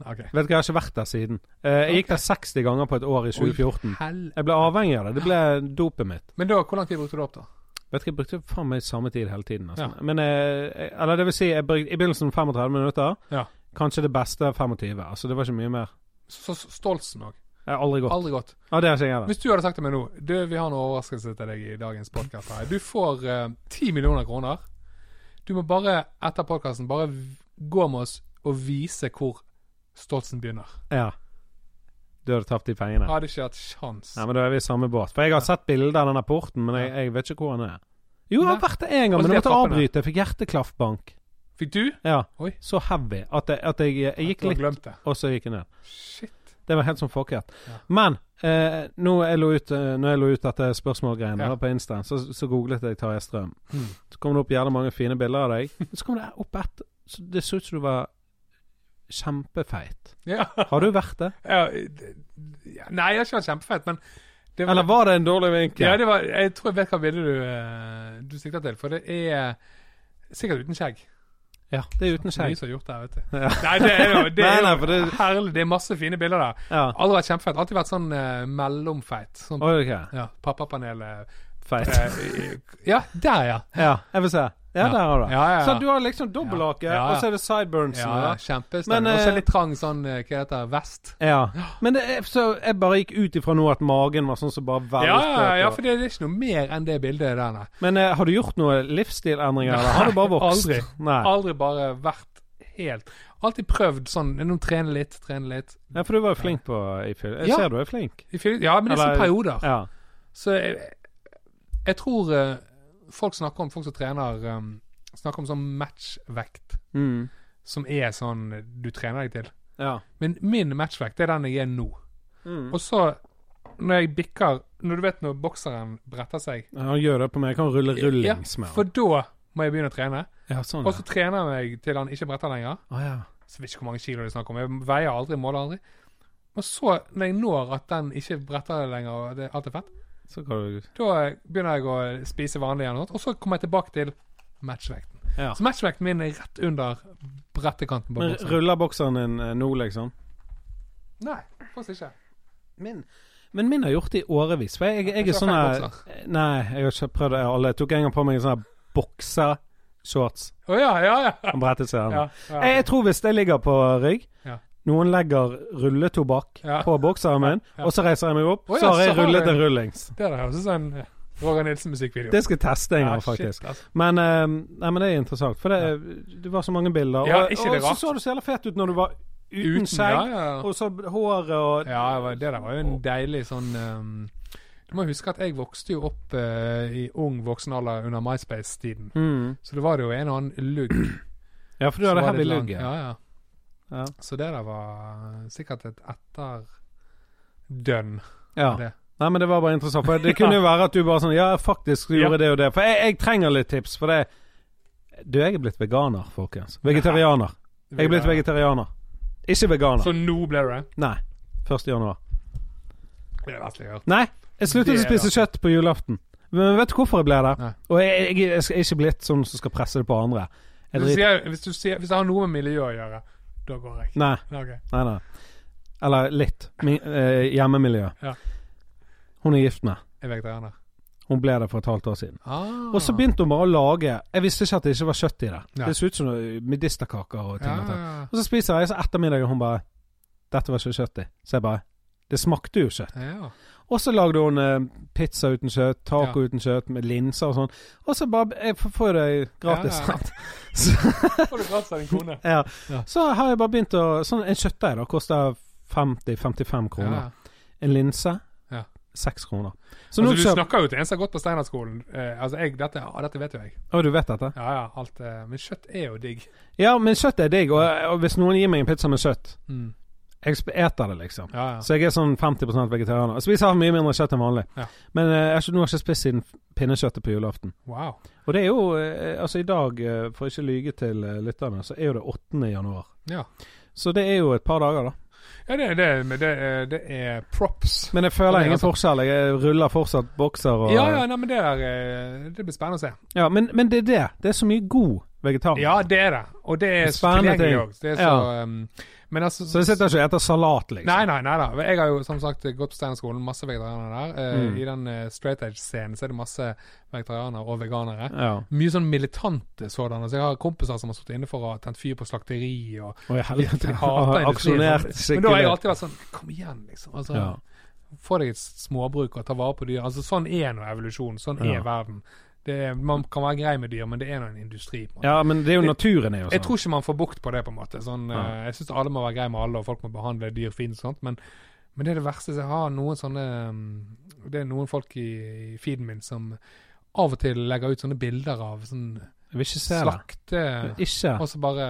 S3: Okay.
S1: Vet du hva, jeg har ikke vært der siden. Eh, jeg gikk der 60 ganger på et år i 2014.
S3: Hel...
S1: Jeg ble avhengig av det. Det ble dopet mitt.
S3: Men da, hvor lang tid brukte du opp, da?
S1: Vet ikke, jeg brukte faen meg samme tid hele tiden. nesten. Men, eh, eller det vil si, jeg brukte i begynnelsen 35 minutter.
S3: Ja.
S1: Kanskje det beste 25. Altså, det var ikke mye mer.
S3: Så så Stoltsen òg.
S1: Jeg har aldri gått.
S3: Aldri gått.
S1: Ja, det har ikke jeg heller.
S3: Hvis du hadde sagt til meg nå Du, vi har en overraskelse til deg i dagens podkast her. Du får eh, ti millioner kroner. Du må bare, etter podkasten, bare v- gå med oss og vise hvor Stoltsen begynner.
S1: Ja. Du hadde tapt de pengene.
S3: Hadde ikke hatt sjans.
S1: Nei, men da er vi i samme båt. For jeg har sett bilder av denne porten, men jeg, jeg vet ikke hvor han er. Jo, jeg har
S3: Nei.
S1: vært der én gang,
S3: Og
S1: men
S3: de
S1: jeg måtte
S3: trappene.
S1: avbryte. Jeg fikk hjerteklaffbank.
S3: Fikk du?
S1: Ja.
S3: Oi.
S1: Så heavy at jeg, at jeg, jeg
S3: Du
S1: gikk
S3: har
S1: litt,
S3: glemt det.
S1: og så gikk jeg ned.
S3: Shit.
S1: Det var helt sånn fucket.
S3: Ja.
S1: Men eh, nå jeg lå ut, eh, når jeg lå ut dette spørsmålgreiene
S3: Ja.
S1: da på Insta, så, så googlet jeg Tarjei Strøm.
S3: Mm.
S1: Så kom det opp jævlig mange fine bilder av deg. Så kom det opp et så Det så ut som du var kjempefeit.
S3: Ja.
S1: Har du vært det?
S3: Ja, d- ja, Nei, jeg har ikke vært kjempefett, men det var,
S1: Eller var det en dårlig vinkel?
S3: ja, det var, Jeg tror jeg vet hva bilde du, eh, du sikter til, for det er sikkert uten skjegg.
S1: Ja, det er uten
S3: Mye
S1: skjegg.
S3: som er gjort der, vet du.
S1: Ja.
S3: Nei, det er jo, det
S1: Nei,
S3: er
S1: nei,
S3: jo
S1: for det-
S3: herlig. Det er masse fine bilder der.
S1: Ja.
S3: Aldri vært kjempefeit. Alltid vært sånn eh, mellomfeit. Sånn
S1: Oi, ok.
S3: ja, pappapanelet
S1: Feit.
S3: eh, Ja, der, ja.
S1: Ja, jeg vil se. Ja,
S3: Ja.
S1: der har du det.
S3: Ja, ja,
S1: Så
S3: ja.
S1: du har liksom dobbelthake,
S3: Ja, ja, ja.
S1: og så er det sideburnsene.
S3: ja
S1: da. Men,
S3: Kjempestemning.
S1: eh,
S3: Også litt trang sånn eh, Hva heter det? Vest?
S1: Ja. Men det er, så jeg bare gikk ut ifra nå at magen var sånn som bare
S3: Ja,
S1: veltet.
S3: ja, ja,
S1: og-
S3: for det er ikke noe mer enn det bildet der, nei.
S1: Men eh, har du gjort noen livsstilendringer, eller har du bare vokst?
S3: Aldri.
S1: Nei.
S3: Aldri bare vært helt Alltid prøvd sånn Nå trene litt, trene litt.
S1: Ja, for du var jo flink på i fyll. Jeg
S3: Ja.
S1: ser du er flink.
S3: I fyll- Ja, men det er
S1: Eller-
S3: sånne perioder.
S1: Ja.
S3: Så jeg, jeg tror eh, folk snakker om folk som trener um, Snakker om sånn matchvekt
S1: Mm.
S3: som er sånn du trener deg til.
S1: Ja.
S3: Men min matchvekt er den jeg er nå.
S1: Mm.
S3: Og så, når jeg bikker Når du vet når bokseren bretter seg
S1: Ja, Han gjør det på meg. Jeg kan rulle rullings
S3: ja,
S1: med
S3: For
S1: han.
S3: da må jeg begynne å trene.
S1: Ja, sånn, ja.
S3: Og så trener jeg meg til han ikke bretter lenger.
S1: Å, ja.
S3: Så vet ikke hvor mange kilo det er snakk om. Jeg veier aldri, måler aldri. Og så, når jeg når at den ikke bretter lenger, og det, alt er fett,
S1: Så kan du
S3: da eh, begynner jeg å spise vanlig igjen. og sånt. Og så kommer jeg tilbake til matchvekten.
S1: Ja.
S3: Så matchvekten min er rett under brettekanten på
S1: Men
S3: bokseren.
S1: ruller bokseren din eh, nå, liksom?
S3: Nei, faktisk ikke.
S1: Min. Men min har gjort det i årevis. For jeg, jeg, er
S3: Ikke
S1: sånn
S3: feil
S1: her
S3: bokser.
S1: Nei, jeg har ikke prøvd det alle. Jeg tok en gang på meg en sånn her boksershorts.
S3: Å ja, ja, ja.
S1: Han brettet seg.
S3: ja,
S1: Ja,
S3: ja.
S1: Jeg, jeg tror hvis jeg ligger på rygg
S3: Ja.
S1: Noen legger rulletobakk
S3: Ja.
S1: på bokseren min,
S3: Ja.
S1: og så reiser jeg meg opp.
S3: Å ja,
S1: så har
S3: så
S1: jeg
S3: har
S1: rullet
S3: du-
S1: en rullings.
S3: Det der høres ut som en eh, Roger Nilsen-musikkvideo.
S1: Det skal jeg teste en gang, faktisk.
S3: Shit, altså.
S1: Men, eh, nei, men det er interessant, for det, det var så mange bilder.
S3: Ja,
S1: og
S3: ikke det
S1: og så
S3: rart.
S1: så du så jævla fet ut når du var uten,
S3: Uten
S1: skjegg,
S3: Ja, ja.
S1: og så håret og
S3: Ja, det var- det der var jo en deilig sånn ehm, Du må huske at jeg vokste jo opp eh, i ung voksen alder under MySpace-tiden.
S1: mm.
S3: Så det var det jo en og annen lugg.
S1: Ja, for du
S3: som
S1: hadde
S3: var
S1: heavy
S3: litt lang.
S1: lugg. Ja.
S3: Ja, ja.
S1: Ja.
S3: Så det der var sikkert et etterdønn. dønn
S1: Ja.
S3: Det.
S1: Nei, men det var bare interessant. For det kunne jo være at du bare sånn Ja, faktisk gjorde
S3: Ja.
S1: det og det. For jeg, jeg trenger litt tips, for det Du, jeg er blitt veganer, folkens. Vegetarianer. Jeg er blitt vegetarianer. Ikke veganer.
S3: Så nå ble det
S1: Nei. 1. januar.
S3: det? er verst jeg har hørt.
S1: Nei, jeg sluttet
S3: Det
S1: å
S3: er
S1: spise kjøtt på julaften. Men vet du hvorfor jeg ble det?
S3: Nei.
S1: Og jeg, jeg, jeg er ikke blitt sånn som skal presse det på andre. Jeg
S3: Hvis du
S1: driter
S3: sier- Hvis, du sier- hvis det har noe med miljø å gjøre, da går jeg.
S1: Nei,
S3: Ja, ok.
S1: nei, nei. Eller litt. Min, eh, hjemmemiljø.
S3: Ja.
S1: Hun er gift med.
S3: Jeg er vegetarianer.
S1: Hun ble det for et halvt år siden.
S3: Ah.
S1: Og så begynte hun bare å lage Jeg visste ikke at det ikke var kjøtt i det.
S3: Nei.
S1: Det så ut som noe medisterkaker og ting.
S3: ja,
S1: og tang.
S3: ja, ja.
S1: Og så spiser jeg, så ettermiddagen hun bare 'Dette var ikke kjøtt i'. Så jeg bare Det smakte jo kjøtt.
S3: Ja.
S1: Og så lagde hun eh, pizza uten kjøtt, taco uten kjøtt, med linser og sånn. Og så bare Jeg får- får jo det gratis.
S3: Ja, ja.
S1: sant?
S3: Får du gratis av din kone?
S1: Ja.
S3: Ja.
S1: Så har jeg bare begynt å Sånn en kjøttdeig da koster 50-55 kroner.
S3: Ja.
S1: En linse
S3: Ja.
S1: 6 kroner. Så
S3: Altså, du
S1: nå kjøper
S3: snakker jo til en som har gått på Steinerskolen. Eh, altså, jeg, dette, ja, dette vet jo jeg.
S1: Å, du vet dette?
S3: Ja, ja, alt, eh, men kjøtt er jo digg.
S1: Ja, men kjøtt er digg, og, og hvis noen gir meg en pizza med kjøtt, jeg sp- eter det, liksom.
S3: Mm. Ja, ja.
S1: Så jeg er sånn 50 vegetarianer. Jeg spiser mye mindre kjøtt enn vanlig.
S3: Ja.
S1: Men eh, jeg har ikke, nå har jeg ikke spist siden pinnekjøttet på julaften.
S3: Wow.
S1: Og det er jo eh, Altså, i dag, eh, for ikke å lyge til eh, lytterne, så er jo det 8. januar.
S3: Ja,
S1: Så det er jo et par dager, da.
S3: ja det, det, men det, er- det er props.
S1: Men jeg
S3: For meg,
S1: føler ingen
S3: altså.
S1: forskjell. Jeg eh, ruller fortsatt bokser og
S3: Ja, ja, nei, men det, er, eh, det blir spennende å se.
S1: Ja, men, men det er det. Det er så mye god vegetar.
S3: Ja, det er det. Og det er så
S1: Spennende ting.
S3: tilgjengelig òg. Det er så
S1: Ja.
S3: um, Men altså
S1: Så jeg sitter ikke og eter salat, liksom.
S3: Nei, nei, nei da. Jeg har jo som sagt gått på Steinerskolen, masse vegetarianere der. Eh,
S1: Mm.
S3: I den eh, straight edge-scenen så er det masse vegetarianere og veganere.
S1: Ja.
S3: Mye sånn militante sådanne. Så jeg har kompiser som har sittet inne for å ha tent fyr på slakteri og
S1: Og jeg helvete.
S3: Jeg hater
S1: Aksjonert
S3: industrien. Men da har jeg
S1: skikkelig.
S3: alltid vært sånn Kom igjen, liksom. Altså,
S1: Ja.
S3: Få deg et småbruk og ta vare på dyr. Altså, sånn er nå evolusjon. Sånn
S1: Ja.
S3: er verden. Det er, man kan være grei med dyr, men det er nå en industri. på en måte.
S1: Ja, men det er jo naturen, er jo sånn.
S3: Jeg tror ikke man får bukt på det, på en måte. Sånn,
S1: Ja.
S3: eh, jeg syns alle må være grei med alle, og folk må behandle dyr fint og sånt, men, men det er det verste. Så jeg har noen sånne mm, Det er noen folk i, i feeden min som av og til legger ut sånne bilder av sånn
S1: Jeg vil ikke se det.
S3: slakte...
S1: Ikke.
S3: Og så bare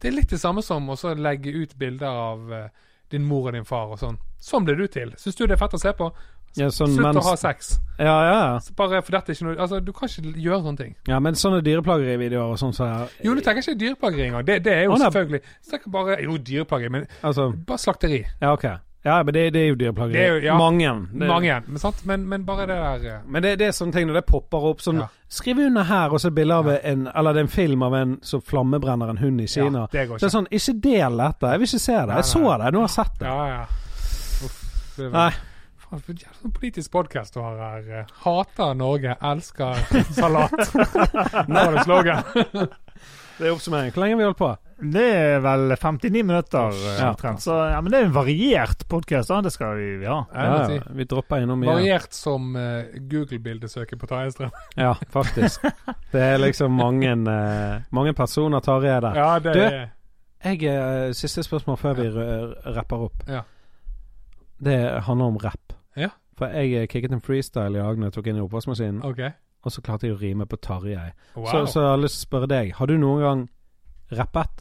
S3: Det er litt det samme som å så legge ut bilder av eh, din mor og din far og sånn. Sånn ble du til. Syns du det er fett å se på?
S1: Ja, sånn
S3: Slutt
S1: mens
S3: å ha sex.
S1: Ja, ja. ja.
S3: Så bare for dette er ikke noe Altså, du kan ikke gjøre sånne ting.
S1: Ja, men sånne dyreplagerivideoer og sånn, så er
S3: Jo, du tenker ikke dyreplageri engang. Det, det er jo
S1: Å, nei.
S3: selvfølgelig Du tenker bare Jo, dyreplageri, men
S1: Altså,
S3: bare slakteri.
S1: ja, OK. Ja, men det, det er jo
S3: Det er
S1: dyreplageri.
S3: jo- ja.
S1: Mange. Det,
S3: Mange igjen, men sant? Men, men bare det der eh,
S1: Men det, det er sånne ting når det popper opp sånn
S3: Ja.
S1: Skriv under her, og så et bilde av en Eller det er en film av en som flammebrenner en hund i Kina.
S3: Ja, det går
S1: Så det
S3: ikke.
S1: er sånn, ikke del dette. Jeg vil ikke se det.
S3: Nei,
S1: Jeg så
S3: nei.
S1: det. Nå har jeg sett det.
S3: Ja, ja. Uff, det er
S1: Nei.
S3: Faen, for jævla sånn politisk podkast du har her. eh. Hater Norge, elsker salat. Nå var det slogan.
S1: Det er oppsummering. Hvor lenge har vi holdt på?
S2: Det er vel 59 minutter eh,
S1: Ja.
S2: omtrent. Så ja, men det er en variert podkast, da. Det skal vi vi ha.
S3: Jeg må si.
S1: Vi dropper innom igjen.
S3: Variert som eh, Google-bildesøket på Tarjei Strøm.
S1: Ja, faktisk. Det er liksom mange, eh, mange personer Tarjei er der.
S3: Ja, det
S1: Du-
S3: er
S1: Jeg, eh, siste spørsmål før vi r- rapper opp.
S3: Ja.
S1: Det handler om rapp.
S3: Ja.
S1: For jeg eh, kicket en freestyle i dag når jeg tok inn i oppvaskmaskinen,
S3: OK.
S1: og så klarte jeg å rime på Tarjei.
S3: Wow.
S1: Så, så jeg har lyst til å spørre deg, har du noen gang rappet?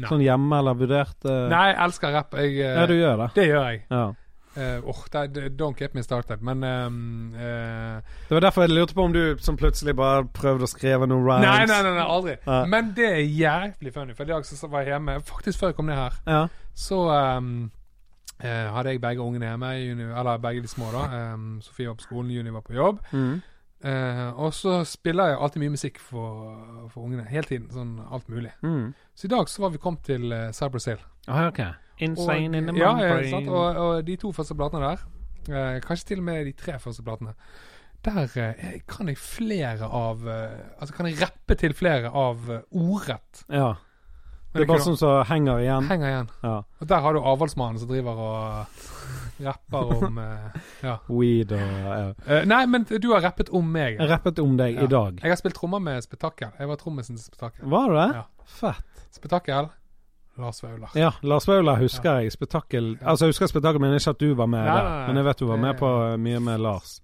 S3: Nei.
S1: Sånn hjemme eller vurdert eh,
S3: Nei, jeg elsker rapp. Jeg, eh,
S1: Ja, du gjør det.
S3: Det gjør jeg.
S1: Ja.
S3: Eh, åh, det- det- don't get me started, men ehm, eh,
S1: Det var derfor jeg lurte på om du som plutselig bare prøvde å skrive noen rhymes.
S3: nei, nei, nei, nei, aldri.
S1: Ja.
S3: Men det er jævlig funny, for i dag så så var jeg hjemme Faktisk før jeg kom ned her,
S1: Ja.
S3: så ehm, eh, hadde jeg begge ungene hjemme, Juni, eller begge de små, da. Ehm, Sofie var på skolen, Juni var på jobb.
S1: Mm.
S3: Eh, og så spiller jeg alltid mye musikk for, for ungene, hele tiden. Sånn alt mulig.
S1: Mm.
S3: Så i dag så var vi kommet til uh, Cyber Sale.
S1: Ah, ok. Insane in the
S3: ja,
S1: mind
S3: ja,
S1: brain.
S3: sant? Og, og de to første platene der, eh, kanskje til og med de tre første platene, der eh, kan jeg flere av eh, Altså kan jeg rappe til flere av eh, ordrett.
S1: ja.
S3: Men
S1: Det er bare sånn som henger
S3: noe-
S1: igjen.
S3: henger igjen.
S1: Ja.
S3: Og der har du avholdsmannen som driver og rapper om eh, Ja.
S1: Weed og ja.
S3: Eh, nei, men du har rappet om meg.
S1: Jeg rappet om deg
S3: Ja.
S1: i dag.
S3: Jeg har spilt trommer med Spetakkel. Jeg var trommisen til Spetakkel.
S1: Var du det?
S3: Ja.
S1: Fett.
S3: Spetakkel. Lars Vaular.
S1: Ja, Lars Vaular husker jeg. Spetakkel Altså, jeg husker spetakkel, men ikke at du var med
S3: Nei,
S1: der.
S3: nei, nei.
S1: Men jeg vet du var med
S3: Det-
S1: på eh, mye med Lars.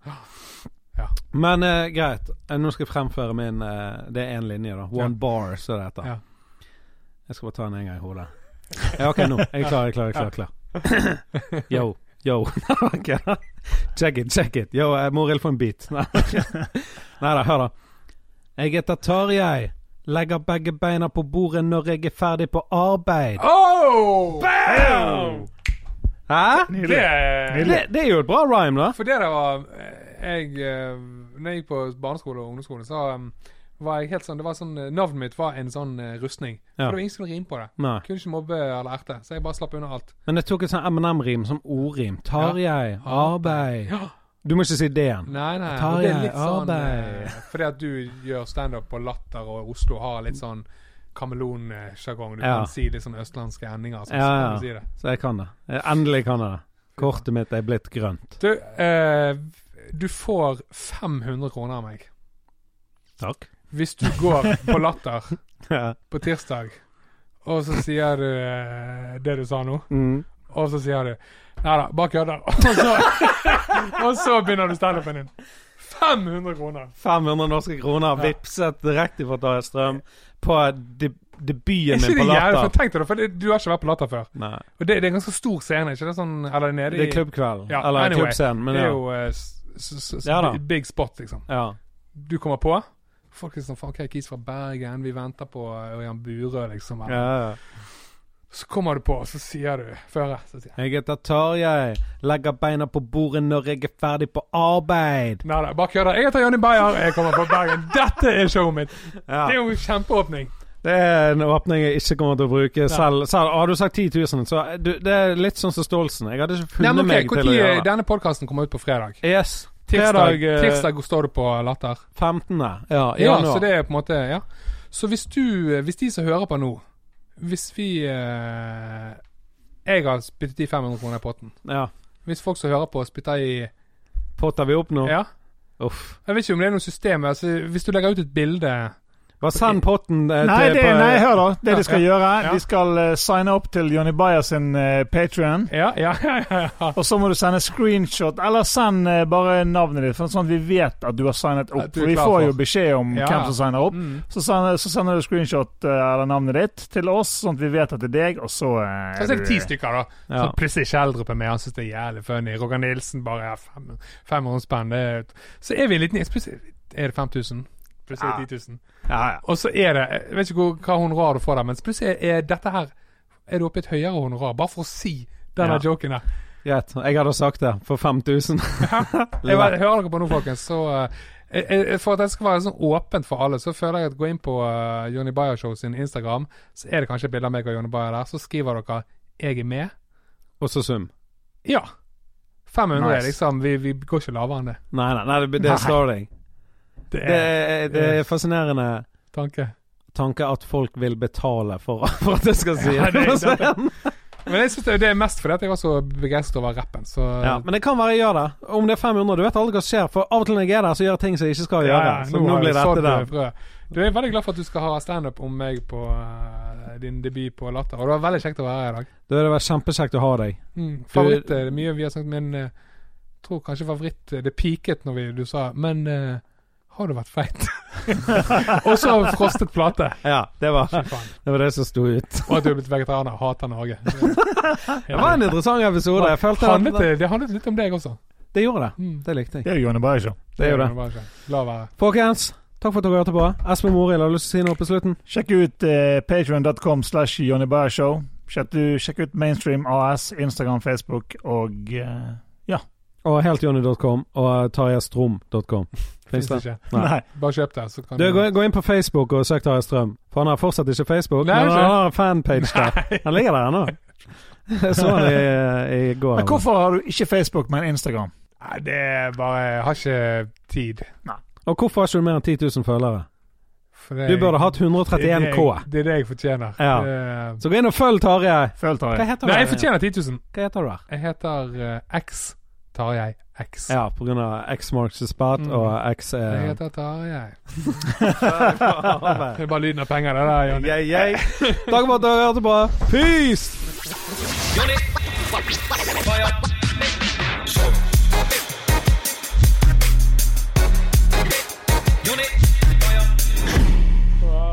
S3: Ja.
S1: Men eh, greit. Eh, Nå skal jeg fremføre min eh, Det er én linje, da. One
S3: Ja.
S1: bar, så det heter.
S3: Ja.
S1: Jeg skal bare ta den en gang i hodet. Ja, OK, nå. Jeg er klar, jeg er klar, jeg er klar. jeg er klar. Yo, yo. Ok, da. check it, check it. Yo, jeg må rille få en bit. Nei da, hør da. Jeg heter Tarjei. Legger begge beina på bordet når jeg er ferdig på arbeid.
S3: Oh!
S1: Bam! Hæ?
S2: Nydelig.
S3: Det,
S1: Det, det er jo et bra rhyme, da.
S3: for det der var eh, Jeg eh, Når jeg gikk på barneskole og ungdomsskole, så um, var jeg helt sånn, det var sånn eh, Navnet mitt var en sånn eh, rustning.
S1: Ja.
S3: For det var ingen som kunne rime på det.
S1: Nei.
S3: Kunne ikke mobbe eller erte, så jeg bare slapp unna alt.
S1: Men jeg tok et sånn M&M-rim som ordrim. Tarjei, arbeid.
S3: Ja.
S1: Du må ikke si det igjen.
S3: Nei, nei.
S1: Tarjei,
S3: og det er litt sånn
S1: arbeid.
S3: eh, Fordi at du gjør standup på Latter, og Oslo har litt sånn kameleonsjargong. Du
S1: Ja.
S3: kan si litt sånn østlandske endinger. Sånn,
S1: Ja,
S3: så
S1: ja.
S3: kan du si det.
S1: Så jeg kan det. Jeg- Endelig kan jeg det. Kortet mitt er blitt grønt.
S3: Du, eh, du får 500 kroner av meg
S1: Takk.
S3: hvis du går på Latter
S1: Ja.
S3: på tirsdag, og så sier du eh, det du sa nå,
S1: Mm.
S3: og så sier du Nei da, bare kødder. Og så, og så begynner du standupen din. 500 kroner!
S1: 500 norske kroner
S3: Ja.
S1: vipset direkte fra Tarjei Strøm på de
S3: Er
S1: debuten
S3: ikke
S1: min
S3: det
S1: på
S3: jævlig? For
S1: Latter.
S3: tenk deg det, for det, du har ikke vært på Latter før.
S1: Nei.
S3: Og det, det er en ganske stor scene, ikke det? Sånn, eller nede i
S1: Det er klubbkvelden.
S3: Ja,
S1: Eller
S3: anyway,
S1: klubbscenen, men
S3: det er
S1: ja.
S3: jo eh, s- s- s-
S1: Ja da.
S3: big spot, liksom.
S1: ja.
S3: Du kommer på. Folk er sånn Faen, hva er Kis fra Bergen? Vi venter på eh, Ørjan Burøe, liksom. Eller.
S1: Ja, ja.
S3: Så kommer du på, og så sier du føre. Så sier jeg
S1: Jeg heter Tarjei. Legger beina på bordet når jeg er ferdig på arbeid.
S3: Nei da, bare kødder. Jeg heter Jonny Beyer, jeg kommer fra Bergen. Dette er showet mitt!
S1: Ja.
S3: Det er jo en kjempeåpning.
S1: Det er en åpning jeg ikke kommer til å bruke selv. selv har du sagt 10 000, så du, det er litt sånn som Stolsen. Jeg hadde ikke
S3: Nei,
S1: funnet
S3: men ok,
S1: meg
S3: hvor
S1: til å
S3: tid
S1: gjøre det.
S3: denne podkasten kommer ut på fredag?
S1: Yes.
S3: Tirsdag,
S1: Fredag eh,
S3: tirsdag står du på Latter.
S1: 15. Ja, i
S3: Ja,
S1: januar.
S3: så det er på en måte Ja. Så hvis du eh, Hvis de som hører på nå Hvis vi eh, Jeg har spyttet i 500 kroner i potten.
S1: Ja.
S3: Hvis folk som hører på, spytter i
S1: Potter vi opp nå?
S3: Ja.
S1: Uff.
S3: Jeg vet ikke om det er noe system. Altså, hvis du legger ut et bilde
S1: Bare send potten eh,
S2: Nei,
S1: til
S2: det,
S1: på-
S2: nei, hør da. Det de skal gjøre,
S3: ja.
S2: de skal eh, signe opp til Johnny Bayer sin uh, Patrion.
S3: Ja, ja, ja. ja, ja.
S2: Og så må du sende screenshot, eller send eh, bare navnet ditt, for sånn at vi vet at du har signet
S3: At
S2: opp.
S3: du er
S2: For vi
S3: klar
S2: får
S3: for.
S2: jo beskjed om
S3: Ja.
S2: hvem som signer opp.
S3: Mm.
S2: Så sender, så sender du screenshot eh, eller navnet ditt til oss, sånn at vi vet at det er deg, og så eh,
S3: Så er det ti
S2: du-
S3: stykker, da.
S1: Ja.
S3: Så plutselig Kjeldrup er med, han syns det er jævlig funny. Roger Nilsen bare er 500 spenn. det er- Så er vi en liten Plutselig er det 5000. Plutselig er det 10 000.
S2: Ja, ja.
S3: Og så er det Jeg vet ikke hvor, hva honorar du får der, men plutselig er dette her Er du oppe i et høyere honorar, bare for å si denne
S1: Ja.
S3: joken der.
S1: Greit. Jeg hadde sagt det. For 5000.
S3: Jeg bare, hører dere på nå, folkens, så eh, jeg- jeg- for at det skal være sånn åpent for alle, så føler jeg at gå inn på eh, Johnny Bayer Show sin Instagram, så er det kanskje et bilde av meg og Johnny Bayer der. Så skriver dere 'Jeg er med'.
S1: Og så sum.
S3: Ja. 500 er
S2: Nice.
S3: liksom vi, vi går ikke lavere enn det.
S1: Nei, nei, nei det, det slår deg.
S3: Det
S1: Det
S3: er
S1: er, det er fascinerende
S3: tanke.
S1: tanke at folk vil betale for, for at jeg skal si
S3: Ja, det er
S1: det.
S3: sant. Men jeg synes det, det er mest fordi at jeg var så begeistret over rappen. Så
S1: Ja, men det kan være jeg gjør det. Om det er 500, du vet aldri hva som skjer. For av og til når jeg er der, så gjør jeg ting som jeg ikke skal
S3: Ja,
S1: gjøre.
S3: ja,
S1: så nå
S3: har
S1: blir
S3: jeg sådd
S1: dette der.
S3: frø. Du jeg er veldig glad for at du skal ha standup om meg på eh, din debut på Latter. Og det var veldig kjekt å være her i dag.
S1: Du, det var kjempekjekt å ha deg.
S3: Mm, favoritt, eh, det er mye vi har snakket om, men eh, tror kanskje favoritt Det piket når vi, du sa Men eh, har du vært feit? og så frostet plate.
S1: Ja, det var
S3: Fy faen.
S1: det, var det som sto ut.
S3: Og at du er blitt vegetarianer. Hater Norge.
S1: Det var en interessant episode. Jeg følte at-
S3: handlet, det handlet litt om deg også.
S1: Det gjorde det.
S3: Mm.
S1: Det likte jeg.
S2: Det er jo Jonny Barisha.
S1: Det gjør det.
S3: var ikke- La være.
S1: Folkens, takk for at dere hørte på. Espen Morild, har du lyst til å si noe på slutten?
S2: Sjekk ut eh, patreon.com slash Jonny Barishow. Sjekk, du- sjekk ut Mainstream AS, Instagram, Facebook og eh,
S1: Og heltjohnny.com og tarjestrom.com. Fins
S3: Fins
S1: det?
S3: ikke.
S1: Nei.
S2: Nei.
S3: Bare kjøp det, så kan
S1: Du, gå, gå inn på Facebook og søk Tarjei Strøm. For han har fortsatt ikke Facebook,
S3: Nei,
S1: men
S3: ikke.
S1: han har en fanpage der. Han ligger der ennå. Jeg så han i, i går.
S2: Men hvorfor har du ikke Facebook, men Instagram?
S3: Nei, det er bare Jeg har ikke tid.
S1: Og hvorfor har ikke du mer enn 10 000 følgere?
S3: For det-
S1: Du burde hatt
S3: det er det
S1: 131 K.
S3: jeg- Det er det jeg fortjener.
S1: Ja.
S3: Det-
S1: Så gå inn og følg Tarjei.
S2: Følg
S1: Hva
S2: Tarjei.
S1: heter du?
S3: Nei, jeg
S1: der?
S3: fortjener 10 000.
S1: Hva heter du der?
S3: Jeg heter eh, X Tarjei X.
S1: Ja, på grunn av X marks the spot
S3: Mm.
S1: og X eh,
S3: Jeg
S1: er
S3: heter Tarjei.
S1: Takk
S3: Det er bare lyden av penger, det der. Jonny.
S1: for at dere hørte på. Peace!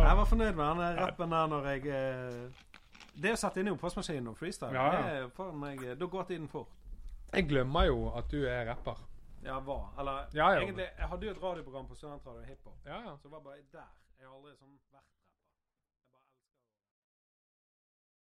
S1: Jeg var fornøyd med den der rappen der når jeg eh, Det å sette inn i oppvaskmaskinen og freestyle,
S3: Ja, ja.
S1: det er for meg eh, Da går tiden fort.
S3: Jeg glemmer jo at du er rapper.
S1: Ja, var. Eller
S3: Ja, ja.
S1: egentlig Jeg hadde jo et radioprogram på studentradioen hiphop,
S3: Ja, ja.
S1: så det var bare der. Jeg har aldri sånn vært